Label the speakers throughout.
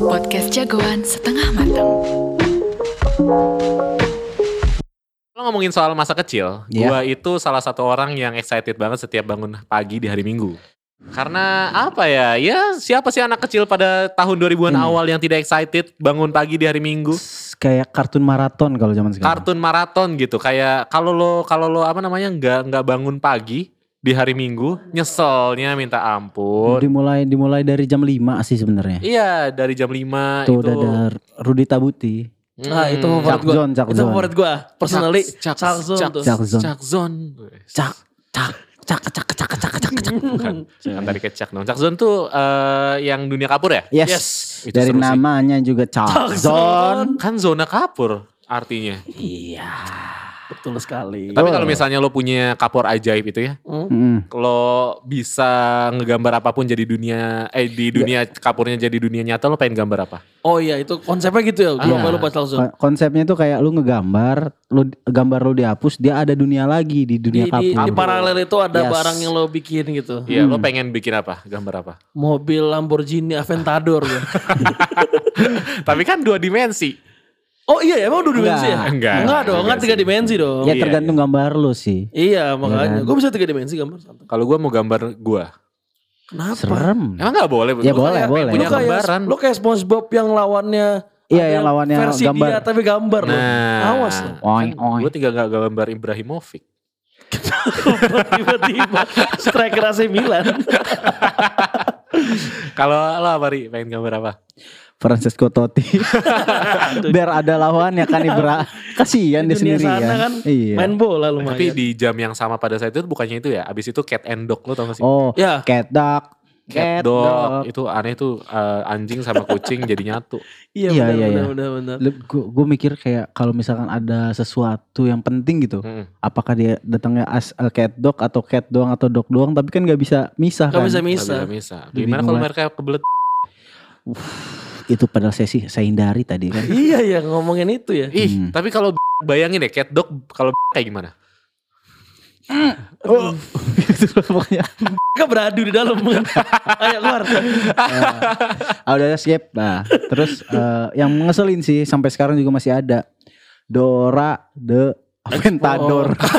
Speaker 1: Podcast jagoan setengah matang.
Speaker 2: Kalau ngomongin soal masa kecil,
Speaker 3: Iya.
Speaker 2: gua itu salah satu orang yang excited banget setiap bangun pagi di hari Minggu. Karena apa ya? Ya siapa sih anak kecil pada tahun 2000-an
Speaker 3: Hmm.
Speaker 2: awal yang tidak excited bangun pagi di hari Minggu?
Speaker 3: S- Kayak kartun maraton kalau zaman sekarang.
Speaker 2: Kartun maraton gitu. Kayak kalau lo kalau lo apa namanya nggak nggak bangun pagi di hari Minggu, nyeselnya minta ampun.
Speaker 3: Dimulai dimulai dari jam 5 sih sebenarnya.
Speaker 2: Iya, dari jam 5
Speaker 3: Tuh
Speaker 2: itu.
Speaker 3: udah ada Rudi Tabuti,
Speaker 2: Hmm.
Speaker 4: Nah, itu
Speaker 3: Cak
Speaker 4: favorit gua.
Speaker 3: Zon, Cak
Speaker 4: Itu
Speaker 3: Zon.
Speaker 4: favorit gua. Personally,
Speaker 2: Cak-
Speaker 4: Cak Zon
Speaker 2: Cak-
Speaker 4: tuh.
Speaker 3: Cak Zon.
Speaker 2: Cak Zon.
Speaker 3: Cak cak cak cak cak cak cak cak.
Speaker 2: Bukan, bukan tadi kecak dong. Cak Zon tuh eh, yang dunia kapur ya?
Speaker 3: Yes.
Speaker 4: Yes,
Speaker 2: itu
Speaker 3: Dari
Speaker 2: seru sih.
Speaker 3: namanya juga Cak Zon.
Speaker 2: Kan zona kapur artinya.
Speaker 4: Iya. Betul sekali.
Speaker 2: Tapi kalau misalnya lo punya kapur ajaib itu ya,
Speaker 4: Hmm.
Speaker 3: Mm.
Speaker 2: lo bisa ngegambar apapun jadi dunia eh di dunia
Speaker 3: Iya.
Speaker 2: kapurnya jadi dunia nyata lo pengen gambar apa?
Speaker 4: Oh iya, itu konsepnya gitu ya.
Speaker 3: Iya.
Speaker 4: Gua
Speaker 2: Ah.
Speaker 4: lupa lupa Cak Zon.
Speaker 3: Ko- Konsepnya tuh kayak lu ngegambar, lu gambar lu dihapus, dia ada dunia lagi di
Speaker 4: Di,
Speaker 3: dunia
Speaker 4: di, di
Speaker 3: kapur.
Speaker 4: paralel itu ada
Speaker 3: Yes.
Speaker 4: barang yang lo bikin gitu.
Speaker 2: Iya,
Speaker 3: Hmm.
Speaker 2: lo pengen bikin apa? Gambar apa?
Speaker 4: Mobil Lamborghini Aventador. gitu. gua.
Speaker 2: Tapi kan dua dimensi.
Speaker 4: oh iya, emang dua dimensi ya?
Speaker 2: Enggak. Enggak.
Speaker 4: Enggak dong,
Speaker 2: Enggak
Speaker 4: enggak tiga
Speaker 2: sih.
Speaker 4: dimensi dong.
Speaker 3: Ya
Speaker 2: Iya,
Speaker 3: tergantung gambar lu sih.
Speaker 4: Iya, makanya.
Speaker 3: kan?
Speaker 4: Gue bisa tiga dimensi gambar. santai.
Speaker 2: Kalau gua mau gambar gua.
Speaker 4: Kenapa?
Speaker 3: Serem.
Speaker 2: Emang nggak boleh?
Speaker 3: Ya
Speaker 2: Gua
Speaker 3: boleh,
Speaker 2: kayak
Speaker 3: boleh.
Speaker 4: Lu
Speaker 2: Punya
Speaker 3: Lu
Speaker 4: kayak,
Speaker 2: gambaran.
Speaker 4: lu kayak SpongeBob yang lawannya
Speaker 3: Iya,
Speaker 4: ada
Speaker 3: yang lawannya
Speaker 4: versi
Speaker 3: gambar.
Speaker 4: dia tapi gambar loh.
Speaker 2: Nah,
Speaker 4: Awas loh.
Speaker 3: Oing, oing.
Speaker 2: Gue tinggal nggak gambar Ibrahimovic.
Speaker 4: tiba-tiba striker AC Milan.
Speaker 2: Kalau lo apa Ri? Pengen gambar apa?
Speaker 3: Francesco Totti. Biar ada lawannya kan Ibra. Kasihan dia
Speaker 4: Di dunia
Speaker 3: sendirian.
Speaker 4: sana kan
Speaker 3: iya.
Speaker 4: Main bola lumayan.
Speaker 2: Tapi di jam yang sama pada saat itu bukannya itu ya. Abis itu cat and dog lo tau gak sih?
Speaker 3: Oh,
Speaker 4: Ya.
Speaker 3: cat dog.
Speaker 2: cat, dog. iya. Itu aneh tuh eh, anjing sama kucing jadi nyatu.
Speaker 4: Iya,
Speaker 3: Iya,
Speaker 4: benar,
Speaker 3: iya,
Speaker 4: benar,
Speaker 3: iya.
Speaker 4: benar, benar.
Speaker 3: Gue mikir kayak kalau misalkan ada sesuatu yang penting gitu,
Speaker 2: Mm-mm.
Speaker 3: apakah dia datangnya as eh, cat dog atau cat doang atau dog doang, tapi kan nggak bisa misah
Speaker 4: Gak
Speaker 3: kan?
Speaker 4: bisa
Speaker 2: Nggak
Speaker 4: misa.
Speaker 2: bisa misah.
Speaker 3: Lebih
Speaker 2: Gimana kalau
Speaker 3: muat.
Speaker 2: mereka kebelet?
Speaker 3: Itu padahal saya sih saya hindari tadi kan.
Speaker 4: iya, iya ngomongin itu ya.
Speaker 2: Ih,
Speaker 3: Hmm.
Speaker 2: tapi kalau b- bayangin deh cat dog kalau b- kayak gimana?
Speaker 3: Gitu loh pokoknya.
Speaker 4: Mereka beradu di dalam. Ayo keluar.
Speaker 3: Ah, udah skip. Nah, terus eh, yang ngeselin sih sampai sekarang juga masih ada Dora the Aventador.
Speaker 2: Oh,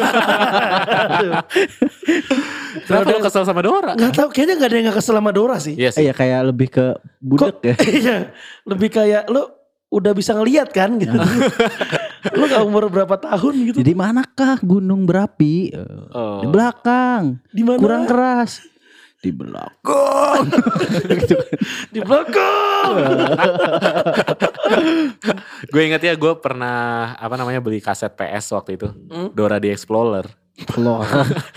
Speaker 2: Kenapa lo kesel sama Dora?
Speaker 4: Gak tau, kayaknya gak ada yang gak kesel sama Dora sih.
Speaker 2: Iya sih.
Speaker 3: Iya kayak lebih ke budek
Speaker 4: Kok,
Speaker 3: ya.
Speaker 4: iya, lebih kayak lu udah bisa ngeliat kan gitu. lu gak umur berapa tahun gitu.
Speaker 3: Jadi manakah gunung berapi? Eh,
Speaker 2: Oh.
Speaker 3: Di belakang.
Speaker 4: Di mana?
Speaker 3: Kurang keras. Di belakang. gitu.
Speaker 4: Di belakang.
Speaker 2: Gue inget ya gue pernah apa namanya beli kaset PS waktu itu.
Speaker 4: Hmm.
Speaker 2: Dora the Explorer.
Speaker 3: Keluar.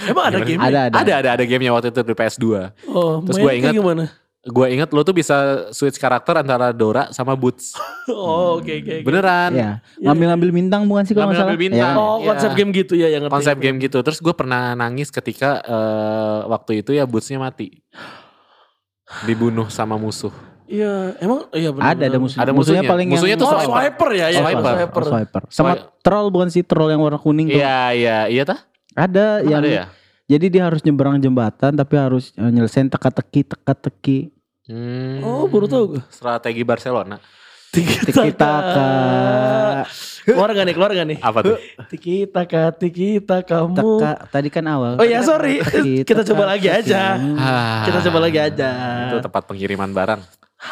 Speaker 4: Emang ada game?
Speaker 3: ada ada.
Speaker 2: Ada ada ada gamenya waktu itu di PS2.
Speaker 4: Oh,
Speaker 2: Terus
Speaker 4: main
Speaker 2: gua
Speaker 4: kayak
Speaker 2: ingat-
Speaker 4: gimana?
Speaker 2: Gue inget lo tuh bisa switch karakter antara Dora sama Boots.
Speaker 4: Oh, oke oke. oke.
Speaker 2: Beneran.
Speaker 3: Iya. Ngambil-ngambil bintang bukan sih kalau nggak salah?
Speaker 2: Ngambil-ngambil bintang.
Speaker 3: Iya.
Speaker 4: Oh, konsep
Speaker 2: Iya.
Speaker 4: game gitu ya yang ngerti.
Speaker 2: konsep game gitu. Terus gue pernah nangis ketika eh, waktu itu ya bootsnya mati. Dibunuh sama musuh.
Speaker 4: Iya, emang iya benar.
Speaker 3: Ada ada musuh.
Speaker 2: Ada musuhnya.
Speaker 3: paling
Speaker 2: Musuhnya
Speaker 3: yang
Speaker 2: tuh
Speaker 4: Oh,
Speaker 2: swiper.
Speaker 4: swiper ya, ya.
Speaker 2: Swiper.
Speaker 3: Oh, swiper. Sama
Speaker 2: Swiper.
Speaker 3: troll bukan sih troll yang warna kuning tuh.
Speaker 2: Iya, iya, iya tah?
Speaker 3: Ada
Speaker 2: Emang
Speaker 3: yang
Speaker 2: ada ya?
Speaker 3: jadi dia harus nyebrang jembatan tapi harus eh, nyelesain teka-teki teka-teki
Speaker 2: Hmm.
Speaker 4: Oh, baru tahu gue.
Speaker 2: Strategi Barcelona.
Speaker 3: tiki taka
Speaker 4: Keluar gak nih, keluar gak nih?
Speaker 2: Apa tuh?
Speaker 4: Tiki taka, tiki taka kamu.
Speaker 3: teka tadi kan awal.
Speaker 4: Oh ya, sorry. Kita coba lagi aja.
Speaker 2: Ah,
Speaker 4: Kita coba lagi aja.
Speaker 2: Itu tempat pengiriman barang.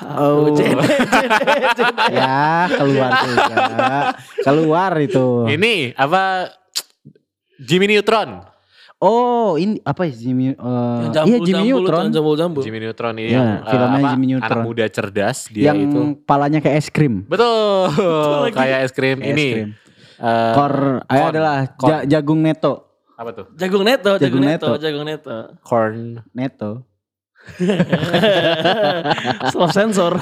Speaker 3: Oh.
Speaker 4: Oh, jede, jede, jede.
Speaker 3: Ya keluar juga. keluar itu.
Speaker 2: Ini apa? Jimmy Neutron.
Speaker 3: Oh ini apa ya Jimmy? eh,
Speaker 4: Yang
Speaker 3: iya
Speaker 4: jambul,
Speaker 3: Jimmy
Speaker 4: jambul,
Speaker 3: Neutron
Speaker 4: Jambul, jambul.
Speaker 2: Jimmy Neutron ini
Speaker 3: Iya,
Speaker 2: yang eh,
Speaker 3: filmnya
Speaker 2: apa,
Speaker 3: Jimmy Neutron.
Speaker 2: anak muda cerdas dia
Speaker 3: yang
Speaker 2: itu.
Speaker 3: palanya kayak es krim.
Speaker 2: Betul.
Speaker 4: lagi.
Speaker 2: kayak es krim
Speaker 3: Kayak
Speaker 2: ini.
Speaker 3: es krim.
Speaker 2: Eh,
Speaker 3: Kor, eh,
Speaker 2: corn.
Speaker 3: adalah
Speaker 2: Corn.
Speaker 3: ja- jagung neto,
Speaker 2: apa tuh?
Speaker 4: Jagung neto,
Speaker 3: Jagung
Speaker 4: jagung neto,
Speaker 3: neto.
Speaker 4: jagung neto.
Speaker 2: Corn.
Speaker 3: neto.
Speaker 4: Self sensor.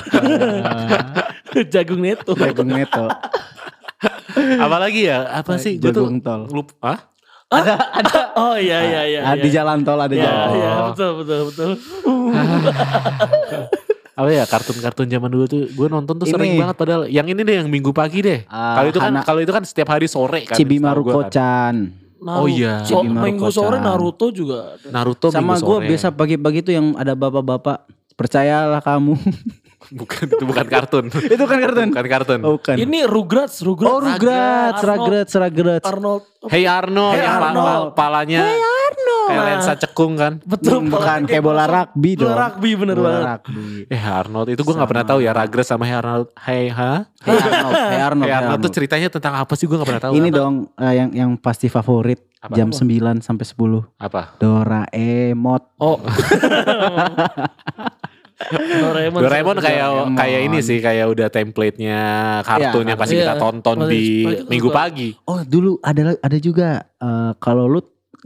Speaker 3: Eh,
Speaker 4: jagung neto.
Speaker 3: jagung neto.
Speaker 2: Apalagi ya? Apa
Speaker 3: Eh,
Speaker 2: sih? Gue tuh
Speaker 3: jagung tol.
Speaker 2: lupa. Hah?
Speaker 4: Oh iya iya iya.
Speaker 3: Ah, Di
Speaker 4: iya.
Speaker 3: jalan tol ada
Speaker 4: Iya,
Speaker 3: jalan tol.
Speaker 4: iya, betul betul betul.
Speaker 2: apa ya kartun-kartun zaman dulu tuh gue nonton tuh sering
Speaker 3: Ini.
Speaker 2: banget padahal yang ini deh yang minggu pagi deh
Speaker 3: Ah,
Speaker 2: kalau itu kan
Speaker 3: Hana-
Speaker 2: kalau itu kan setiap hari sore kan setahu gua
Speaker 3: Cibi
Speaker 2: kan.
Speaker 3: Maruko-chan.
Speaker 4: Naruto.
Speaker 2: Oh iya.
Speaker 4: So-
Speaker 3: Jadi Naruto-chan.
Speaker 4: minggu sore Naruto juga. ada.
Speaker 2: Naruto
Speaker 3: Sama
Speaker 2: minggu
Speaker 3: gue
Speaker 2: sore.
Speaker 3: biasa pagi-pagi tuh yang ada bapak-bapak. Percayalah kamu.
Speaker 2: bukan itu bukan kartun.
Speaker 3: Itu kan kartun.
Speaker 2: bukan kartun.
Speaker 3: Oh, bukan.
Speaker 4: Ini Rugrats, Rugrats.
Speaker 3: oh, Rugrats,
Speaker 4: Arnold,
Speaker 3: Rugrats, Rugrats.
Speaker 4: Arnold.
Speaker 2: Hey Arnold
Speaker 4: Hey
Speaker 2: yang pa-
Speaker 4: Arnold.
Speaker 2: pa- palanya kayak
Speaker 4: Nah.
Speaker 2: lensa cekung kan.
Speaker 4: Betul.
Speaker 3: Bukan
Speaker 4: Pak.
Speaker 3: kayak bola rugby dong.
Speaker 4: Bola rugby bener
Speaker 3: Bola
Speaker 4: banget.
Speaker 3: rugby.
Speaker 2: Eh Arnold itu gue nggak pernah tahu ya Ragres sama Hey Arnold. Hey ha?
Speaker 3: Hey Arnold, hey Arnold,
Speaker 2: Hey
Speaker 3: hey
Speaker 2: Arnold tuh
Speaker 3: Arnold.
Speaker 2: ceritanya tentang apa sih gue nggak pernah tahu.
Speaker 3: Ini dong eh, yang yang pasti favorit
Speaker 2: Apa?
Speaker 3: jam 9 sampai E, 10.
Speaker 2: Apa?
Speaker 3: Doraemon.
Speaker 2: Oh
Speaker 4: Doraemon.
Speaker 2: Doraemon kayak
Speaker 3: Doraemon.
Speaker 2: kayak ini sih kayak udah template-nya kartun
Speaker 3: Iya,
Speaker 2: yang pasti
Speaker 4: iya.
Speaker 2: kita tonton
Speaker 4: Pasti-
Speaker 2: di
Speaker 4: pasti-
Speaker 2: minggu pagi.
Speaker 3: Oh, dulu ada ada juga eh, kalau lu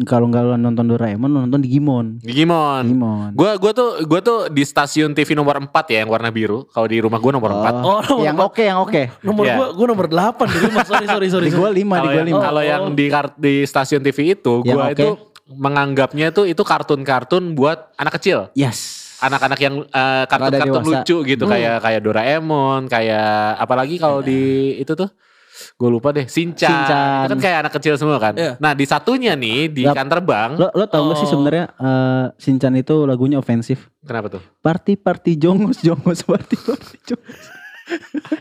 Speaker 3: kalau nggak lu nonton Doraemon lu nonton Digimon.
Speaker 2: Digimon.
Speaker 3: Digimon.
Speaker 2: Gua gua tuh gua tuh di stasiun TV nomor 4 ya yang warna biru. Kalau di rumah gua nomor 4.
Speaker 4: Oh, nomor
Speaker 3: yang
Speaker 4: empat.
Speaker 3: oke, yang oke.
Speaker 4: Nomor
Speaker 2: Iya.
Speaker 4: gua, gua nomor 8 di rumah. Sorry, sorry, sorry.
Speaker 3: Di gua 5, di
Speaker 2: Kalau
Speaker 3: gua
Speaker 2: yang,
Speaker 3: 5.
Speaker 2: kalau
Speaker 4: Oh.
Speaker 2: yang di kar- di stasiun TV itu
Speaker 3: Yang
Speaker 2: gua
Speaker 3: oke.
Speaker 2: itu menganggapnya tuh itu kartun-kartun buat anak kecil.
Speaker 3: Yes.
Speaker 2: Anak-anak yang eh, kartun-kartun
Speaker 3: Rada dewasa. Hmm.
Speaker 2: lucu gitu kayak kayak Doraemon, kayak apalagi kalau di itu tuh gue lupa deh, Shinchan.
Speaker 3: Iya. Shinchan.
Speaker 2: Itu kan kayak anak kecil semua kan.
Speaker 4: Iya.
Speaker 2: Nah, di satunya nih di
Speaker 3: Yap.
Speaker 2: kantor bank,
Speaker 3: Lo lo tau gak sih
Speaker 4: Oh.
Speaker 3: sebenarnya eh, Shinchan itu lagunya ofensif.
Speaker 2: kenapa tuh?
Speaker 3: Party party jongos jongos party party jongos.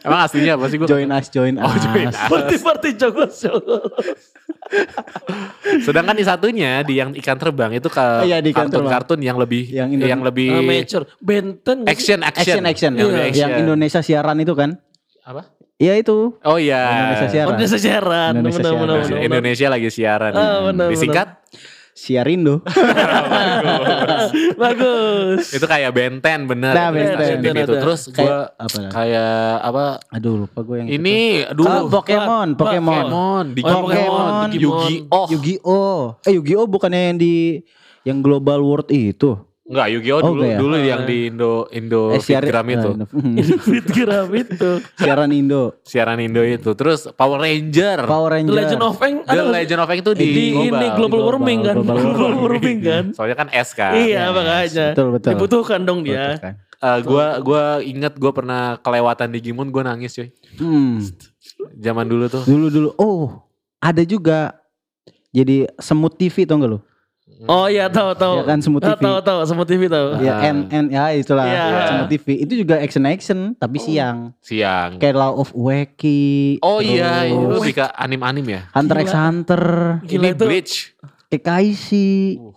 Speaker 2: Emang aslinya apa sih gue?
Speaker 3: Join us join us.
Speaker 2: Oh, join us.
Speaker 4: Seperti jogos jogos.
Speaker 2: Sedangkan di satunya di yang ikan terbang itu ke
Speaker 3: Oh, iya, di ikan terbang.
Speaker 2: kartun-kartun yang lebih
Speaker 3: Yang
Speaker 2: yang,
Speaker 3: Indo- Oh,
Speaker 2: lebih
Speaker 4: Ah, Mature. Benten. nggak sih?
Speaker 2: action action
Speaker 3: Action action. Iya.
Speaker 2: Yang, lebih Iya, action.
Speaker 3: Yang Indonesia siaran itu kan?
Speaker 2: apa?
Speaker 3: Iya itu.
Speaker 2: Oh iya.
Speaker 3: Indonesia siaran.
Speaker 4: Indonesia siaran.
Speaker 3: Indonesia siaran.
Speaker 4: Bener, bener,
Speaker 2: Indonesia,
Speaker 4: bener, bener.
Speaker 2: Indonesia lagi siaran.
Speaker 4: Ah, benar,
Speaker 2: Disingkat
Speaker 3: Siarindo.
Speaker 4: Bagus.
Speaker 2: itu kayak benten bener.
Speaker 3: Nah,
Speaker 2: Itu
Speaker 3: Ben
Speaker 2: stasiun
Speaker 3: 10
Speaker 2: TV
Speaker 4: Bener,
Speaker 2: itu.
Speaker 4: bener.
Speaker 2: Terus gue
Speaker 3: Kayak apa lagi?
Speaker 2: kayak apa?
Speaker 3: Aduh lupa gue yang itu.
Speaker 2: Ini
Speaker 3: Ah,
Speaker 2: dulu
Speaker 3: Pokemon, Pokemon.
Speaker 2: Gitu. Pokemon, Oh.
Speaker 4: Pokemon,
Speaker 2: Digimon,
Speaker 4: Digimon.
Speaker 2: Yu-Gi-Oh.
Speaker 3: Yu-Gi-Oh. Eh Yu-Gi-Oh bukannya yang di yang Global World itu.
Speaker 2: Enggak, Yu-Gi-Oh
Speaker 3: Oh,
Speaker 2: dulu
Speaker 3: enggak ya?
Speaker 2: dulu yang di Indo Indo
Speaker 3: siar-
Speaker 2: Fitgram Oh, itu.
Speaker 3: eh, hmm,
Speaker 4: Fit Gram itu.
Speaker 3: siaran Indo.
Speaker 2: Siaran Indo itu. Terus Power Ranger.
Speaker 3: Power
Speaker 4: The
Speaker 3: Ranger.
Speaker 4: Legend of Eng
Speaker 2: The Legend of X itu di,
Speaker 4: di
Speaker 2: global.
Speaker 4: ini global
Speaker 3: Di global,
Speaker 4: warming kan.
Speaker 3: global
Speaker 4: Global warming kan.
Speaker 2: Soalnya kan S kan.
Speaker 4: Iya makanya.
Speaker 3: betul, betul.
Speaker 4: Dibutuhkan dong dia.
Speaker 3: Betul kan?
Speaker 2: Eh, gua gua inget gua pernah kelewatan Digimon gua nangis cuy.
Speaker 3: Hmm.
Speaker 2: Zaman dulu tuh.
Speaker 3: Dulu dulu. Oh, ada juga jadi semut TV tau gak lu?
Speaker 4: Oh iya tahu tahu.
Speaker 3: Ya kan, Semut
Speaker 4: Ah,
Speaker 3: TV.
Speaker 4: Tahu tahu semut TV tahu.
Speaker 3: Ya
Speaker 2: Ah.
Speaker 3: N N ya itulah
Speaker 4: Iya. Oh.
Speaker 3: semut TV. Itu juga action action tapi siang.
Speaker 2: Siang.
Speaker 3: Kayak Law of Wacky.
Speaker 2: Oh iya, itu
Speaker 3: terus
Speaker 2: lebih ke anim-anim ya.
Speaker 3: Hunter x
Speaker 4: Gila.
Speaker 3: Hunter,
Speaker 4: Gila
Speaker 2: ini
Speaker 4: itu.
Speaker 2: Bleach.
Speaker 3: Kekaisi.
Speaker 2: Uh.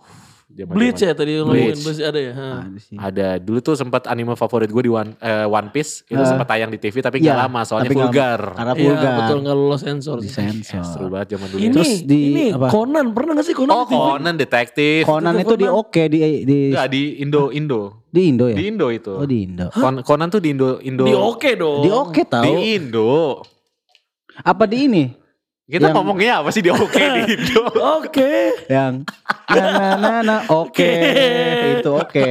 Speaker 3: Nah,
Speaker 2: Zaman-zaman.
Speaker 4: Bleach ya tadi yang ngomongin
Speaker 2: Bleach.
Speaker 4: Bleach ada ya. Ha.
Speaker 3: Ada sih.
Speaker 2: Ada dulu tuh sempat anime favorit gue di One, eh, One Piece itu
Speaker 3: Eh.
Speaker 2: sempat tayang di TV tapi nggak
Speaker 3: Iya,
Speaker 2: lama soalnya
Speaker 3: tapi nggak-
Speaker 2: vulgar.
Speaker 3: Karena
Speaker 4: Iya
Speaker 3: vulgar.
Speaker 4: betul nggak lolos sensor. sih.
Speaker 2: Iya,
Speaker 3: Disensor.
Speaker 2: Ya, Seru banget zaman dulu.
Speaker 4: Ini
Speaker 3: Terus di-
Speaker 4: ini
Speaker 3: apa?
Speaker 4: Conan pernah nggak sih Conan?
Speaker 2: oh
Speaker 4: di TV?
Speaker 2: Conan detektif.
Speaker 3: Conan itu di
Speaker 4: Conan.
Speaker 3: oke di di
Speaker 2: Enggak di Indo Indo.
Speaker 3: di Indo ya.
Speaker 2: Di Indo itu.
Speaker 3: Oh di Indo.
Speaker 2: Con- Conan tuh di Indo Indo.
Speaker 4: Di oke dong.
Speaker 3: Di oke
Speaker 2: Oh, Di
Speaker 3: tahu.
Speaker 2: Indo.
Speaker 3: Apa di ini?
Speaker 2: Kita
Speaker 3: Yang-
Speaker 2: ngomongnya apa sih di oke di Indo?
Speaker 4: Oke.
Speaker 3: Yang na na na, na, oke itu oke.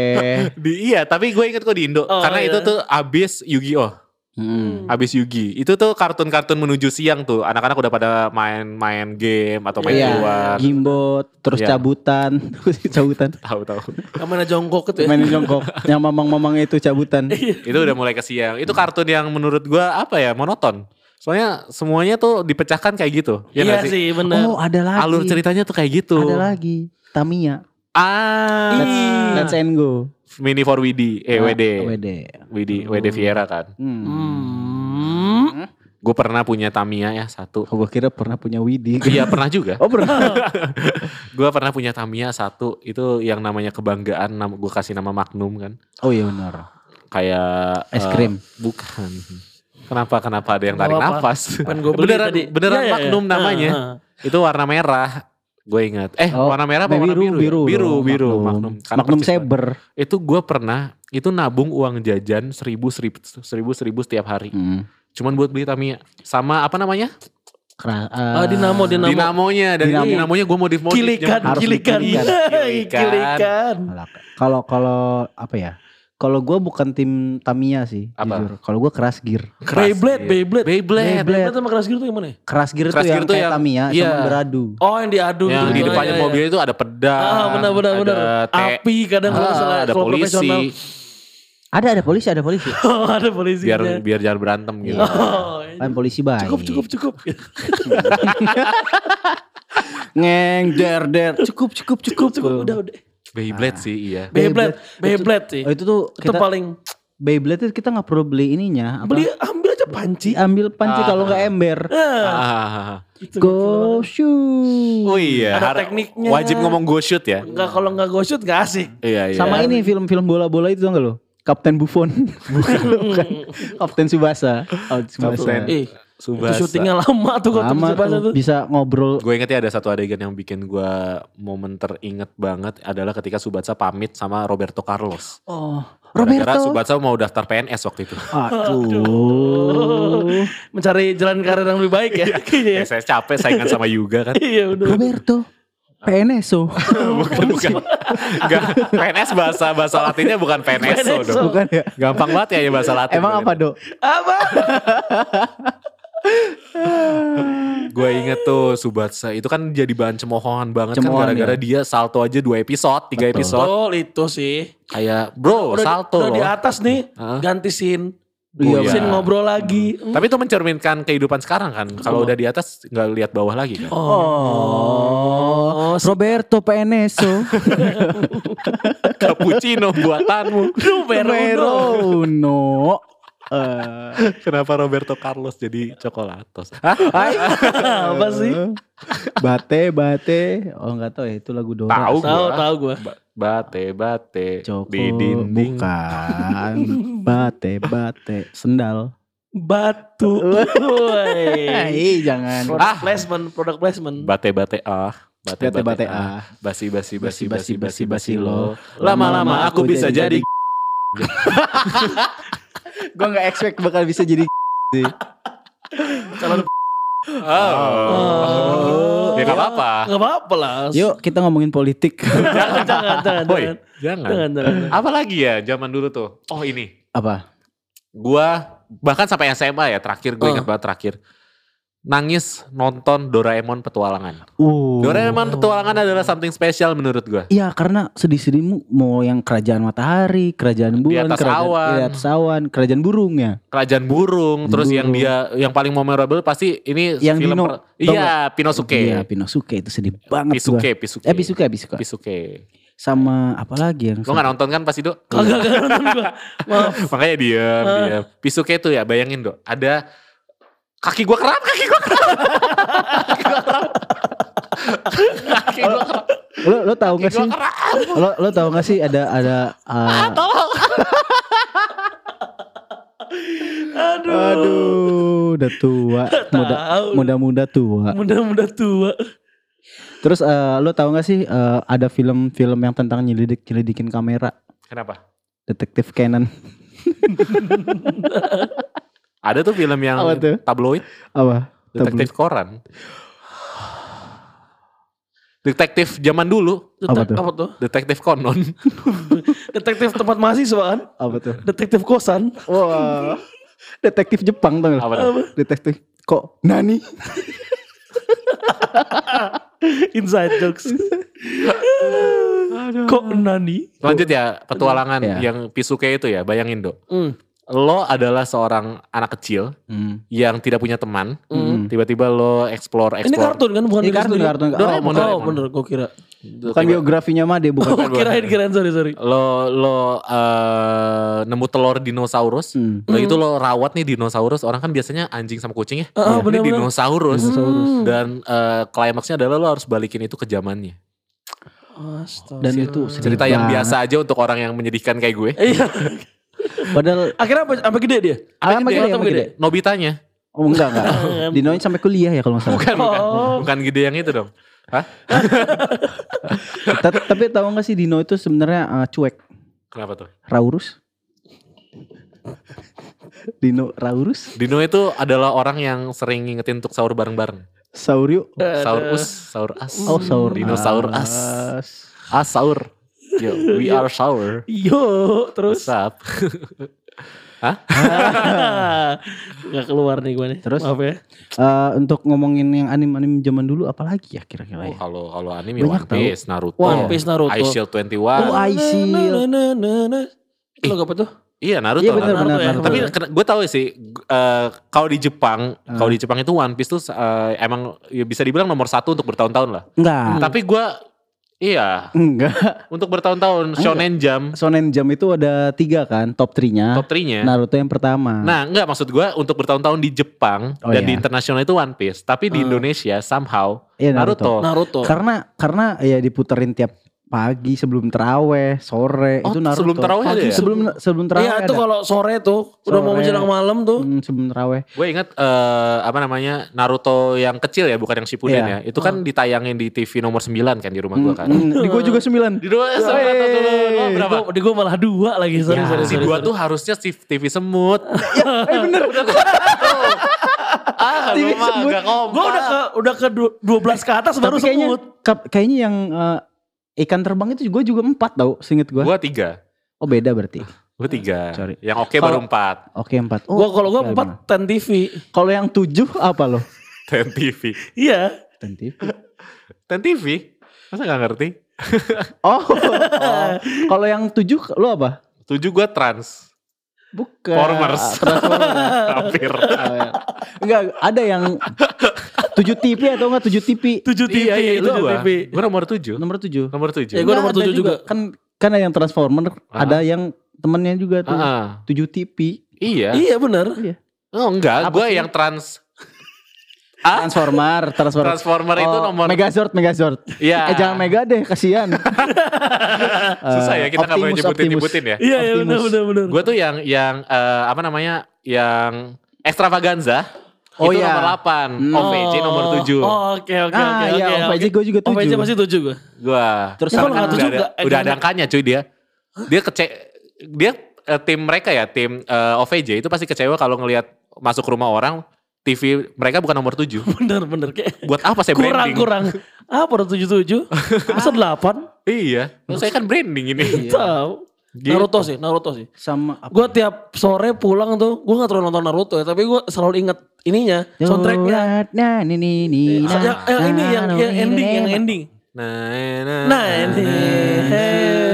Speaker 2: Di iya, tapi gue inget kok di Indo
Speaker 4: Oh,
Speaker 2: karena
Speaker 4: iya.
Speaker 2: itu tuh abis Yu-Gi-Oh,
Speaker 3: Hmm.
Speaker 2: abis Yugi. Itu tuh kartun-kartun menuju siang tuh. Anak-anak udah pada main-main game atau main
Speaker 3: Iya,
Speaker 2: keluar.
Speaker 3: gimbot, terus
Speaker 2: Iya.
Speaker 3: cabutan, terus cabutan.
Speaker 2: Tahu-tahu.
Speaker 4: Yang mana jongkok
Speaker 2: Iya.
Speaker 4: itu ya?
Speaker 3: Main jongkok, yang mamang-mamang itu cabutan.
Speaker 2: itu udah mulai ke siang. Itu kartun yang menurut gue apa ya monoton. Soalnya semuanya tuh dipecahkan kayak gitu. Ya
Speaker 4: Iya
Speaker 2: nggak sih?
Speaker 4: sih benar.
Speaker 3: Oh, ada lagi.
Speaker 2: Alur ceritanya tuh kayak gitu.
Speaker 3: Ada lagi. Tamiya.
Speaker 2: Ah,
Speaker 3: Let's, let's and go.
Speaker 2: mini for Widi, eh
Speaker 3: Ah,
Speaker 2: WD,
Speaker 3: WD.
Speaker 2: Widi, WD Viera kan.
Speaker 3: Hmm.
Speaker 4: Hmm.
Speaker 2: Gue pernah punya Tamiya ya satu.
Speaker 3: Oh, gua kira pernah punya Widi.
Speaker 2: Iya pernah juga.
Speaker 3: Oh, pernah.
Speaker 2: Gue pernah punya Tamiya satu itu yang namanya kebanggaan. Nama gue kasih nama Magnum kan.
Speaker 3: Oh iya benar.
Speaker 2: Kayak
Speaker 3: Es
Speaker 2: eh,
Speaker 3: krim.
Speaker 2: bukan. Kenapa kenapa ada yang tarik
Speaker 4: Gak apa-apa.
Speaker 2: nafas?
Speaker 4: Pengen gue Kan beli
Speaker 2: beneran
Speaker 4: tadi.
Speaker 2: beneran
Speaker 4: Iya, iya, iya.
Speaker 2: Magnum namanya.
Speaker 4: Ah, ah.
Speaker 2: Itu warna merah. Gue ingat. Eh
Speaker 3: Oh,
Speaker 2: warna merah apa
Speaker 3: Nah,
Speaker 2: warna biru? ya?
Speaker 3: biru,
Speaker 2: biru,
Speaker 3: dong,
Speaker 2: biru, Magnum.
Speaker 3: Magnum.
Speaker 2: Karena
Speaker 3: Magnum
Speaker 2: persis banget.
Speaker 3: Saber.
Speaker 2: Itu gue pernah itu nabung uang jajan seribu seribu seribu seribu setiap hari.
Speaker 3: Hmm.
Speaker 2: Cuman buat beli Tamiya sama apa namanya?
Speaker 3: Kera- eh,
Speaker 4: Ah, Dinamo, Dinamo.
Speaker 2: Dinamonya dan
Speaker 3: Dinamo.
Speaker 2: itu dinamonya gue modif modif.
Speaker 4: Kilikan,
Speaker 3: Harus
Speaker 4: kilikan. Iya,
Speaker 3: dikilikan.
Speaker 2: Kilikan.
Speaker 4: Kilikan.
Speaker 3: Alah, Kalau kalau apa ya? Kalau gue bukan tim Tamiya sih,
Speaker 2: Apa?
Speaker 3: jujur. Kalau gue keras gear.
Speaker 4: Beyblade, Beyblade.
Speaker 2: iya. Beyblade.
Speaker 3: Beyblade.
Speaker 4: Beyblade sama keras gitu tuh gimana ya?
Speaker 3: Keras gear
Speaker 2: Keras
Speaker 3: tuh
Speaker 2: gear
Speaker 3: yang
Speaker 2: tuh
Speaker 3: kayak
Speaker 2: yang-
Speaker 3: Tamiya
Speaker 2: iya.
Speaker 3: cuman beradu.
Speaker 4: Oh yang diadu.
Speaker 2: yang
Speaker 4: gitu.
Speaker 2: di
Speaker 4: Oh,
Speaker 2: depannya
Speaker 4: iya, iya.
Speaker 2: mobilnya itu ada pedang,
Speaker 4: Ah, benar benar benar.
Speaker 2: ada teh,
Speaker 4: Api kadang kalau
Speaker 2: ah,
Speaker 4: misalnya
Speaker 2: ada
Speaker 4: kalau
Speaker 2: polisi,
Speaker 4: profesional.
Speaker 3: Ada ada polisi, ada polisi.
Speaker 4: Oh, ada polisi.
Speaker 2: biar biar jangan berantem gitu.
Speaker 4: Oh,
Speaker 3: Kan polisi baik.
Speaker 4: cukup cukup cukup.
Speaker 3: ngeng der der cukup cukup cukup,
Speaker 4: Cukup, cukup, udah, udah.
Speaker 2: Beyblade sih iya.
Speaker 4: Beyblade, Beyblade sih.
Speaker 3: Oh, itu tuh
Speaker 4: itu
Speaker 3: kita
Speaker 4: paling
Speaker 3: Beyblade itu kita nggak perlu beli ininya. Apa?
Speaker 4: beli ambil aja panci.
Speaker 3: ambil panci
Speaker 2: Ah.
Speaker 3: kalau nggak ember.
Speaker 2: Ah.
Speaker 4: Ah, itu
Speaker 3: Go
Speaker 4: gitu.
Speaker 3: shoot.
Speaker 2: Oh iya.
Speaker 4: Ada
Speaker 2: har-
Speaker 4: tekniknya.
Speaker 2: Wajib ngomong go shoot ya.
Speaker 4: Enggak kalau enggak go shoot enggak asik.
Speaker 2: Iya iya.
Speaker 3: Sama ini film-film bola-bola itu enggak lo? Kapten Buffon. bukan, bukan. Kapten Subasa. Oh,
Speaker 2: Kapten.
Speaker 4: Eh, itu
Speaker 2: Subasa.
Speaker 4: syutingnya lama tuh kalau
Speaker 3: Lama
Speaker 4: Tsubasa
Speaker 3: tuh bisa ngobrol.
Speaker 2: Gue inget ya ada satu adegan yang bikin gue momen teringat banget adalah ketika Subatsa pamit sama Roberto Carlos.
Speaker 3: Oh,
Speaker 2: Gara-gara
Speaker 3: Roberto.
Speaker 2: Subatsa mau daftar PNS waktu itu.
Speaker 3: Aduh.
Speaker 4: Mencari jalan karir yang lebih baik ya. Kayaknya
Speaker 2: Ya,
Speaker 4: ya.
Speaker 2: saya capek saingan sama Yuga kan.
Speaker 4: Iya benar.
Speaker 3: Roberto. PNSO.
Speaker 2: bukan bukan. Enggak, PNS bahasa bahasa Latinnya bukan PNSO
Speaker 4: PNSO.
Speaker 2: dong.
Speaker 3: bukan ya?
Speaker 2: Gampang banget ya ya bahasa Latin.
Speaker 3: Emang apa, Dok?
Speaker 4: Apa?
Speaker 2: Gue inget tuh Subatsa itu kan jadi bahan cemoohan banget
Speaker 3: Cemoohan,
Speaker 2: kan gara-gara dia salto aja dua episode, tiga
Speaker 3: ya? Betul.
Speaker 2: episode.
Speaker 4: Betul itu sih.
Speaker 2: Kayak bro
Speaker 4: Udah-
Speaker 2: salto
Speaker 4: udah di
Speaker 2: loh.
Speaker 4: atas nih,
Speaker 2: Heeh.
Speaker 4: ganti scene.
Speaker 2: Iya,
Speaker 4: Ganti scene
Speaker 2: iya.
Speaker 4: ngobrol lagi.
Speaker 2: Tapi itu mencerminkan kehidupan sekarang kan. Kalau udah di atas nggak lihat bawah lagi kan.
Speaker 3: Oh, Roberto PNSO.
Speaker 2: Cappuccino buatanmu.
Speaker 4: Romero.
Speaker 3: no. Eh,
Speaker 2: Kenapa Roberto Carlos jadi coklatos?
Speaker 3: Hai.
Speaker 4: Apa sih?
Speaker 3: Eh. Bate, bate. Oh nggak tahu ya itu lagu Dora.
Speaker 2: Tahu
Speaker 4: Tahu
Speaker 2: gua.
Speaker 4: tahu gua.
Speaker 2: Bate bate
Speaker 3: Joko
Speaker 2: di dinding.
Speaker 3: bukan. Bate, bate. Sendal.
Speaker 4: Batu. Woi.
Speaker 3: Hei, jangan.
Speaker 4: Product placement, product placement.
Speaker 2: Bate bate ah. Bate
Speaker 3: Bate, bate
Speaker 2: ah.
Speaker 3: ah.
Speaker 2: Basi basi basi basi basi
Speaker 3: Basi, basi,
Speaker 2: basi
Speaker 3: basi,
Speaker 2: lo.
Speaker 3: lo.
Speaker 2: Lama-lama aku bisa jadi.
Speaker 3: Gue nggak expect bakal bisa jadi.
Speaker 4: Calon
Speaker 2: Oh.
Speaker 4: Oh.
Speaker 2: Ya nggak apa-apa.
Speaker 4: Gak apa-apa lah.
Speaker 3: Yuk kita ngomongin politik.
Speaker 4: Jangan, jangan, jangan.
Speaker 2: Boy,
Speaker 4: jangan.
Speaker 2: jangan.
Speaker 4: Jangan, jangan.
Speaker 2: Apa lagi ya zaman dulu tuh? Oh ini.
Speaker 3: Apa?
Speaker 2: gua bahkan sampai SMA ya terakhir gue
Speaker 4: Oh.
Speaker 2: ingat banget terakhir nangis nonton Doraemon petualangan.
Speaker 3: Uh.
Speaker 2: Doraemon petualangan adalah something special menurut gua.
Speaker 3: Iya karena sedih-sedihmu mau yang kerajaan matahari, kerajaan bulan,
Speaker 2: atas
Speaker 3: kerajaan,
Speaker 2: awan.
Speaker 3: di atas awan, kerajaan burung ya.
Speaker 2: Kerajaan burung, terus yang
Speaker 3: Burung.
Speaker 2: dia yang paling memorable pasti ini
Speaker 3: Yang
Speaker 2: film
Speaker 3: Dino,
Speaker 2: per-
Speaker 3: tau
Speaker 2: iya Pinosuke.
Speaker 3: Iya Pinosuke itu sedih banget gua.
Speaker 2: Pisuke, Pisuke.
Speaker 3: Eh Pisuke, Pisuke.
Speaker 2: Pisuke.
Speaker 3: Sama apa lagi yang
Speaker 2: Lo gak nonton kan pasti dok?
Speaker 4: Kagak, kagak nonton gua. Maaf.
Speaker 2: Makanya diam,
Speaker 3: Ah.
Speaker 2: diam. Pisuke tuh ya bayangin dok, ada kaki gua keram, kaki gua keram. kaki gua keram.
Speaker 3: Lo lo tahu
Speaker 2: Kaki
Speaker 3: gak
Speaker 2: gua
Speaker 3: sih?
Speaker 2: keram.
Speaker 3: Lo lo tahu gak sih ada ada uh,
Speaker 4: Aduh.
Speaker 3: aduh udah tua, muda
Speaker 4: Tahu.
Speaker 3: muda-muda tua.
Speaker 4: Mudah-mudah tua.
Speaker 3: Terus eh, lo tahu gak sih eh, ada film-film yang tentang nyelidik nyelidikin kamera,
Speaker 2: Kenapa?
Speaker 3: detektif Canon
Speaker 2: Ada tuh film yang
Speaker 3: Apa tuh?
Speaker 2: tabloid,
Speaker 3: apa?
Speaker 2: detektif koran. Detektif zaman dulu,
Speaker 3: Apa tuh?
Speaker 4: Apa tuh?
Speaker 2: detektif konon.
Speaker 4: Detektif tempat mahasiswa kan?
Speaker 3: Apa tuh?
Speaker 4: Detektif kosan.
Speaker 3: Wah. Detektif Jepang tau gak?
Speaker 2: Apa tuh?
Speaker 3: Detektif kok Nani?
Speaker 4: Inside jokes. Kok nani?
Speaker 2: Lanjut ya, petualangan
Speaker 3: Iya.
Speaker 2: yang Pisuke itu ya, bayangin dok.
Speaker 4: Hmm.
Speaker 2: Lo adalah seorang anak kecil
Speaker 3: Hmm,
Speaker 2: yang tidak punya teman,
Speaker 4: Hmm.
Speaker 2: tiba-tiba lo explore
Speaker 4: Ini
Speaker 2: explore.
Speaker 4: kartun kan bukan
Speaker 3: Ini
Speaker 4: di
Speaker 3: kartun,
Speaker 4: studio?
Speaker 3: kartun. Oh,
Speaker 4: Doraemon,
Speaker 2: Doraemon.
Speaker 4: Oh, bener, gue kira.
Speaker 3: Bukan
Speaker 2: Tiba-
Speaker 3: biografinya Kan mah dia bukan.
Speaker 4: Oh, kirain kirain sorry sorry.
Speaker 2: lo lo eh, nemu telur dinosaurus.
Speaker 3: Hmm.
Speaker 2: Lo itu lo rawat nih dinosaurus. Orang kan biasanya anjing sama kucing ya.
Speaker 4: Ah,
Speaker 2: Ini
Speaker 4: ah, bener-bener.
Speaker 2: dinosaurus.
Speaker 3: Dinosaurus.
Speaker 2: Dan eh, klimaksnya adalah lo harus balikin itu ke zamannya.
Speaker 4: Astaga.
Speaker 3: Dan itu sedih
Speaker 2: Cerita yang
Speaker 3: banget.
Speaker 2: biasa aja untuk orang yang menyedihkan kayak gue.
Speaker 4: Iya.
Speaker 3: Padahal
Speaker 4: Akhirnya apa, apa gede dia?
Speaker 3: Apa gede, apa gede?
Speaker 2: Nobitanya.
Speaker 3: Oh enggak enggak. Dinoin sampai kuliah ya kalau enggak salah.
Speaker 2: Bukan, bukan.
Speaker 4: Oh.
Speaker 2: Bukan gede yang itu dong. Hah?
Speaker 3: Ta- Tapi tahu enggak sih Dino itu sebenarnya eh, cuek,
Speaker 2: Kenapa tuh?
Speaker 3: Raurus. Dino Raurus,
Speaker 2: Dino itu adalah orang yang sering ngingetin untuk sahur bareng-bareng.
Speaker 3: Saurio.
Speaker 2: Sahur us, sahur as.
Speaker 3: Oh, saur.
Speaker 2: Dinosaur as.
Speaker 3: as.
Speaker 2: As sahur. Ah, Yo, we are sour.
Speaker 4: Yo,
Speaker 2: What's
Speaker 4: terus
Speaker 2: up?
Speaker 4: nggak keluar nih gue nih.
Speaker 3: Terus?
Speaker 4: Maaf ya.
Speaker 3: Eh, untuk ngomongin yang anim-anim zaman dulu apalagi ya kira-kira
Speaker 2: Oh,
Speaker 3: ya?
Speaker 2: kalau kalau anime One
Speaker 3: Banyak
Speaker 2: Piece, Naruto,
Speaker 4: One Piece Naruto.
Speaker 2: Ice Shield 21.
Speaker 3: Oh, I see.
Speaker 4: Na, na, na, na, na. Itu lagu apa tuh?
Speaker 2: Iya Naruto.
Speaker 3: Iya benar
Speaker 2: Naruto.
Speaker 3: benar.
Speaker 4: ya.
Speaker 3: Naruto.
Speaker 2: Tapi gue tahu sih gu- eh, kalau di Jepang, kalau di Jepang itu One Piece tuh eh, emang ya bisa dibilang nomor satu untuk bertahun-tahun lah.
Speaker 3: enggak.
Speaker 2: Tapi gue iya
Speaker 3: Enggak.
Speaker 2: untuk bertahun-tahun Shonen Jump
Speaker 3: Shonen Jump itu ada tiga kan, top 3-nya.
Speaker 2: top 3-nya. Nah,
Speaker 3: Naruto yang pertama.
Speaker 2: enggak maksud gue untuk bertahun-tahun di Jepang
Speaker 3: Oh,
Speaker 2: dan
Speaker 3: iya.
Speaker 2: di internasional itu One Piece, tapi di
Speaker 4: Hmm.
Speaker 2: Indonesia somehow
Speaker 3: Iya,
Speaker 2: Naruto.
Speaker 4: Naruto.
Speaker 3: Karena karena ya diputerin tiap pagi sebelum teraweh, sore
Speaker 2: Oh,
Speaker 3: itu Naruto.
Speaker 2: sebelum terawih ada
Speaker 4: Pagi
Speaker 2: ya?
Speaker 4: sebelum-
Speaker 3: sebelum sebelum terawih.
Speaker 4: Iya itu
Speaker 3: ada.
Speaker 4: kalau sore tuh udah mau
Speaker 3: Sore.
Speaker 4: menjelang malam tuh.
Speaker 3: Hmm, sebelum teraweh.
Speaker 2: Gue inget eh, apa namanya Naruto yang kecil ya, bukan yang Shippuden ya.
Speaker 3: Iya.
Speaker 2: Itu kan ditayangin di TV nomor 9 kan di rumah gue kan.
Speaker 3: Hmm, di gua juga 9.
Speaker 2: Di dua sorry,
Speaker 3: Wey.
Speaker 2: Naruto dulu. Lo berapa?
Speaker 4: Di gue malah dua lagi sorry
Speaker 2: Ya,
Speaker 4: sorry
Speaker 2: si
Speaker 4: sorry.
Speaker 2: gua
Speaker 4: sorry.
Speaker 2: tuh harusnya si TV semut.
Speaker 3: eh bener.
Speaker 2: ah,
Speaker 3: TV
Speaker 2: lu mah
Speaker 3: semut.
Speaker 2: agak kompak.
Speaker 4: Gua udah ke udah ke du- 12 ke atas baru
Speaker 3: Tapi kayaknya
Speaker 4: semut.
Speaker 3: kap- kayaknya yang eh, ikan terbang itu gua juga empat tau, seinget gua.
Speaker 2: Gua tiga.
Speaker 3: Oh beda berarti.
Speaker 2: Gua tiga.
Speaker 3: Sorry.
Speaker 2: Yang oke
Speaker 3: Kalau-
Speaker 2: baru empat.
Speaker 3: Oke empat. Oh,
Speaker 4: Ah. Gua kalau gua
Speaker 3: oke,
Speaker 4: empat
Speaker 3: lima.
Speaker 4: ten TV.
Speaker 3: Kalau yang tujuh apa lo?
Speaker 2: Ten TV.
Speaker 4: Iya.
Speaker 3: Ten TV.
Speaker 2: Ten TV? Masa gak ngerti?
Speaker 3: Oh. oh. Kalau yang tujuh lo apa?
Speaker 2: Tujuh gua trans.
Speaker 3: Bukan.
Speaker 2: Formers.
Speaker 3: ah, Transformers.
Speaker 2: Hampir.
Speaker 3: Oh, ya. Enggak, ada yang tujuh TV atau enggak tujuh TV?
Speaker 4: 7 TV,
Speaker 2: Iya, iya, itu
Speaker 4: tujuh
Speaker 2: gua.
Speaker 4: TV.
Speaker 2: Gua nomor tujuh.
Speaker 3: Nomor tujuh.
Speaker 2: Nomor
Speaker 4: Ya,
Speaker 2: tujuh.
Speaker 4: gua nomor
Speaker 3: Enggak, ada
Speaker 4: tujuh juga.
Speaker 3: Kan kan ada yang Transformer,
Speaker 2: Ah.
Speaker 3: ada yang temennya juga tuh.
Speaker 2: Ah,
Speaker 3: Tujuh TV.
Speaker 2: Iya.
Speaker 4: Iya benar.
Speaker 2: Oh enggak,
Speaker 3: Apa
Speaker 2: gua
Speaker 3: sih?
Speaker 2: yang trans. Ah,
Speaker 3: Transformer, Transformer.
Speaker 2: Transformer itu
Speaker 3: Oh,
Speaker 2: nomor
Speaker 3: Megazord, Megazord.
Speaker 2: Iya.
Speaker 3: Eh jangan Mega deh, kasihan.
Speaker 2: Susah ya kita nggak boleh
Speaker 3: Uh, Optimus,
Speaker 2: nyebutin
Speaker 3: Optimus.
Speaker 2: nyebutin ya.
Speaker 4: Iya iya
Speaker 3: Optimus.
Speaker 4: benar benar benar.
Speaker 2: Gue tuh yang yang eh, apa namanya yang extravaganza
Speaker 3: Oh,
Speaker 2: itu
Speaker 3: iya.
Speaker 2: nomor 8
Speaker 3: Hmm.
Speaker 2: OVJ nomor 7
Speaker 4: Oh, Oke oke
Speaker 3: Ah,
Speaker 4: oke
Speaker 3: ya,
Speaker 4: oke.
Speaker 3: OVJ gua juga tujuh.
Speaker 4: OVJ masih 7 gua.
Speaker 2: gua
Speaker 3: Terus
Speaker 2: Karena
Speaker 3: kalau nggak
Speaker 2: udah
Speaker 4: tujuh
Speaker 2: ada,
Speaker 4: nggak- eh,
Speaker 2: udah ada
Speaker 4: nggak-
Speaker 2: angkanya cuy dia dia kece dia eh, tim mereka ya tim eh, OVJ itu pasti kecewa kalau ngelihat masuk rumah orang TV mereka bukan nomor 7
Speaker 4: Benar benar kayak
Speaker 2: buat apa saya
Speaker 4: kurang
Speaker 2: branding
Speaker 4: kurang. Apa udah 77? Masa 8?
Speaker 2: iya saya kan branding ini
Speaker 4: Tahu.
Speaker 2: Gitu.
Speaker 4: Naruto sih, Naruto sih.
Speaker 3: Sama apa?
Speaker 4: Gue tiap sore pulang tuh, gue gak terlalu nonton Naruto ya, tapi gue selalu inget ininya, soundtracknya.
Speaker 3: Nah, ini ini ini.
Speaker 4: So- yang, yang ini yang, yang ending, yang ending.
Speaker 2: nah
Speaker 4: Nah, ini,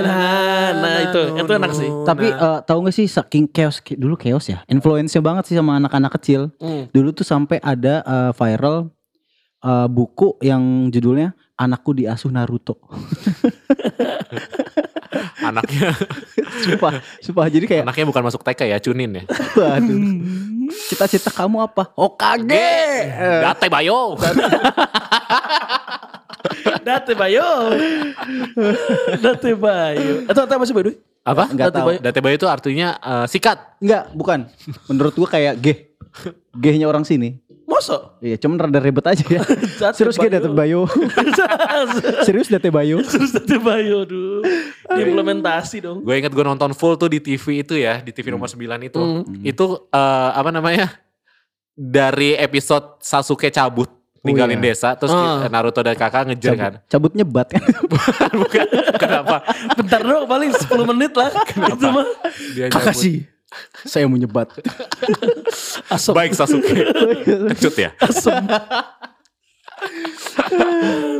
Speaker 4: nah, nah, itu, itu enak sih.
Speaker 3: Tapi eh, tahu gak sih saking chaos dulu chaos ya. Influence-nya banget sih sama anak-anak kecil.
Speaker 4: Hmm.
Speaker 3: Dulu tuh sampai ada eh, viral eh, buku yang judulnya Anakku Diasuh Naruto.
Speaker 2: anaknya
Speaker 3: sumpah, sumpah jadi kayak
Speaker 2: anaknya bukan masuk TK ya cunin ya
Speaker 3: waduh. Cita-cita kamu apa? Hokage. Eh,
Speaker 2: Date bayo.
Speaker 4: Date Bayo. Date Bayo. Itu Eh, apa sih by the way?
Speaker 2: Apa?
Speaker 3: Nggak
Speaker 2: Date
Speaker 3: tahu.
Speaker 2: bayo. Date bayo itu artinya eh, sikat.
Speaker 3: Enggak, bukan. Menurut gua kayak geh. Gehnya orang sini.
Speaker 4: Masa?
Speaker 3: Iya, cuman rada ribet aja ya.
Speaker 4: Date
Speaker 3: Serius gak Date Bayo? Serius Date Bayo?
Speaker 4: Terus Date Bayo, aduh. Implementasi dong.
Speaker 2: Gue inget gue nonton full tuh di TV itu ya, di TV nomor
Speaker 3: Hmm.
Speaker 2: 9 itu.
Speaker 4: Hmm.
Speaker 2: Itu eh, apa namanya? Dari episode Sasuke cabut ninggalin
Speaker 3: iya.
Speaker 2: desa terus
Speaker 4: Ah.
Speaker 2: Naruto dan kakak ngejar kan
Speaker 3: Cabut nyebat kan.
Speaker 2: bukan kenapa
Speaker 4: Bentar dong, paling 10 menit lah. Itu mah.
Speaker 2: dia nyabut.
Speaker 3: Kakashi. Saya mau nyebat.
Speaker 4: Asok.
Speaker 2: baik Sasuke kecut ya
Speaker 4: Asem.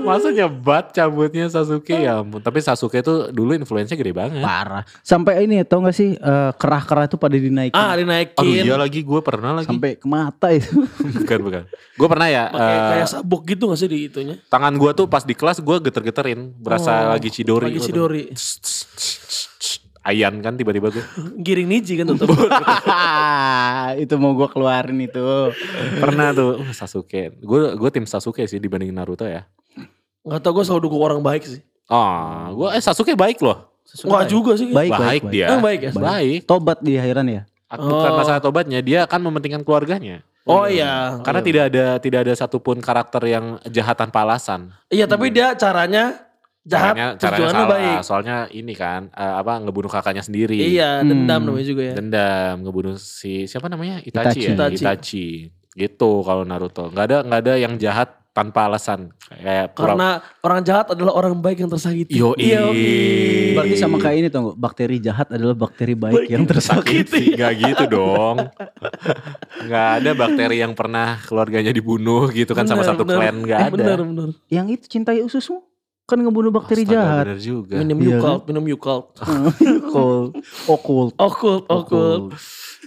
Speaker 2: masa nyebat cabutnya Sasuke ya ampun tapi Sasuke tuh dulu influence gede banget
Speaker 3: Parah. Sampai ini tau gak sih eh, kerah-kerah itu pada dinaikin.
Speaker 4: Ah, dinaikin.
Speaker 2: aduh iya lagi gue pernah lagi
Speaker 3: sampai ke mata itu.
Speaker 2: bukan bukan gue pernah ya
Speaker 4: Pakai
Speaker 2: eh,
Speaker 4: kayak sabuk gitu gak sih di itunya?
Speaker 2: tangan gua tuh pas di kelas gua geter-geterin berasa
Speaker 4: Oh,
Speaker 2: lagi gitu. cidori
Speaker 4: Lagi
Speaker 2: gua tuh.
Speaker 4: sidori.
Speaker 2: Tss, tss, tss, tss, tss. ayan kan tiba-tiba gue
Speaker 4: Giring niji kan tetep.
Speaker 3: itu mau gua keluarin itu.
Speaker 2: pernah tuh uh, Sasuke gue gue tim Sasuke sih dibanding Naruto ya
Speaker 4: gak tau gue selalu dukung orang baik sih.
Speaker 2: oh gue eh Sasuke baik loh
Speaker 4: Wah juga sih.
Speaker 3: Baik,
Speaker 2: baik,
Speaker 3: baik, baik.
Speaker 2: dia
Speaker 4: Eh, baik ya?
Speaker 2: baik, baik.
Speaker 3: Tobat di akhiran ya.
Speaker 2: bukan
Speaker 4: Oh.
Speaker 2: masalah tobatnya dia akan mementingkan keluarganya
Speaker 4: Oh iya.
Speaker 2: karena tidak ada tidak ada satupun karakter yang jahat tanpa alasan
Speaker 4: Iya tapi dia caranya jahat,
Speaker 2: Hmm. caranya, caranya
Speaker 4: tujuannya
Speaker 2: salah
Speaker 4: baik.
Speaker 2: soalnya ini kan eh, apa ngebunuh kakaknya sendiri
Speaker 4: Iya dendam namanya juga ya.
Speaker 2: dendam ngebunuh si siapa namanya Itachi, ya
Speaker 4: Itachi.
Speaker 2: Itachi. gitu kalau Naruto nggak ada nggak ada yang jahat tanpa alasan kayak pura
Speaker 4: Karena orang jahat adalah orang baik yang tersakiti. Iya,
Speaker 2: yo
Speaker 3: Berarti sama kayak ini tau gak, bakteri jahat adalah bakteri baik yang tersakit.
Speaker 4: ya.
Speaker 2: sakiti nggak gitu dong nggak ada bakteri yang pernah keluarganya dibunuh gitu kan sama
Speaker 4: Benar,
Speaker 2: satu
Speaker 4: benar.
Speaker 2: klan nggak
Speaker 4: Eh,
Speaker 2: ada
Speaker 4: Benar benar.
Speaker 3: Yang itu cintai ususmu. kan ngebunuh bakteri
Speaker 2: Astaga,
Speaker 3: jahat.
Speaker 2: bener juga.
Speaker 4: Minum
Speaker 3: Iya
Speaker 4: Yucult, minum Yucult.
Speaker 3: Occult. Occult.
Speaker 4: Okult, okult.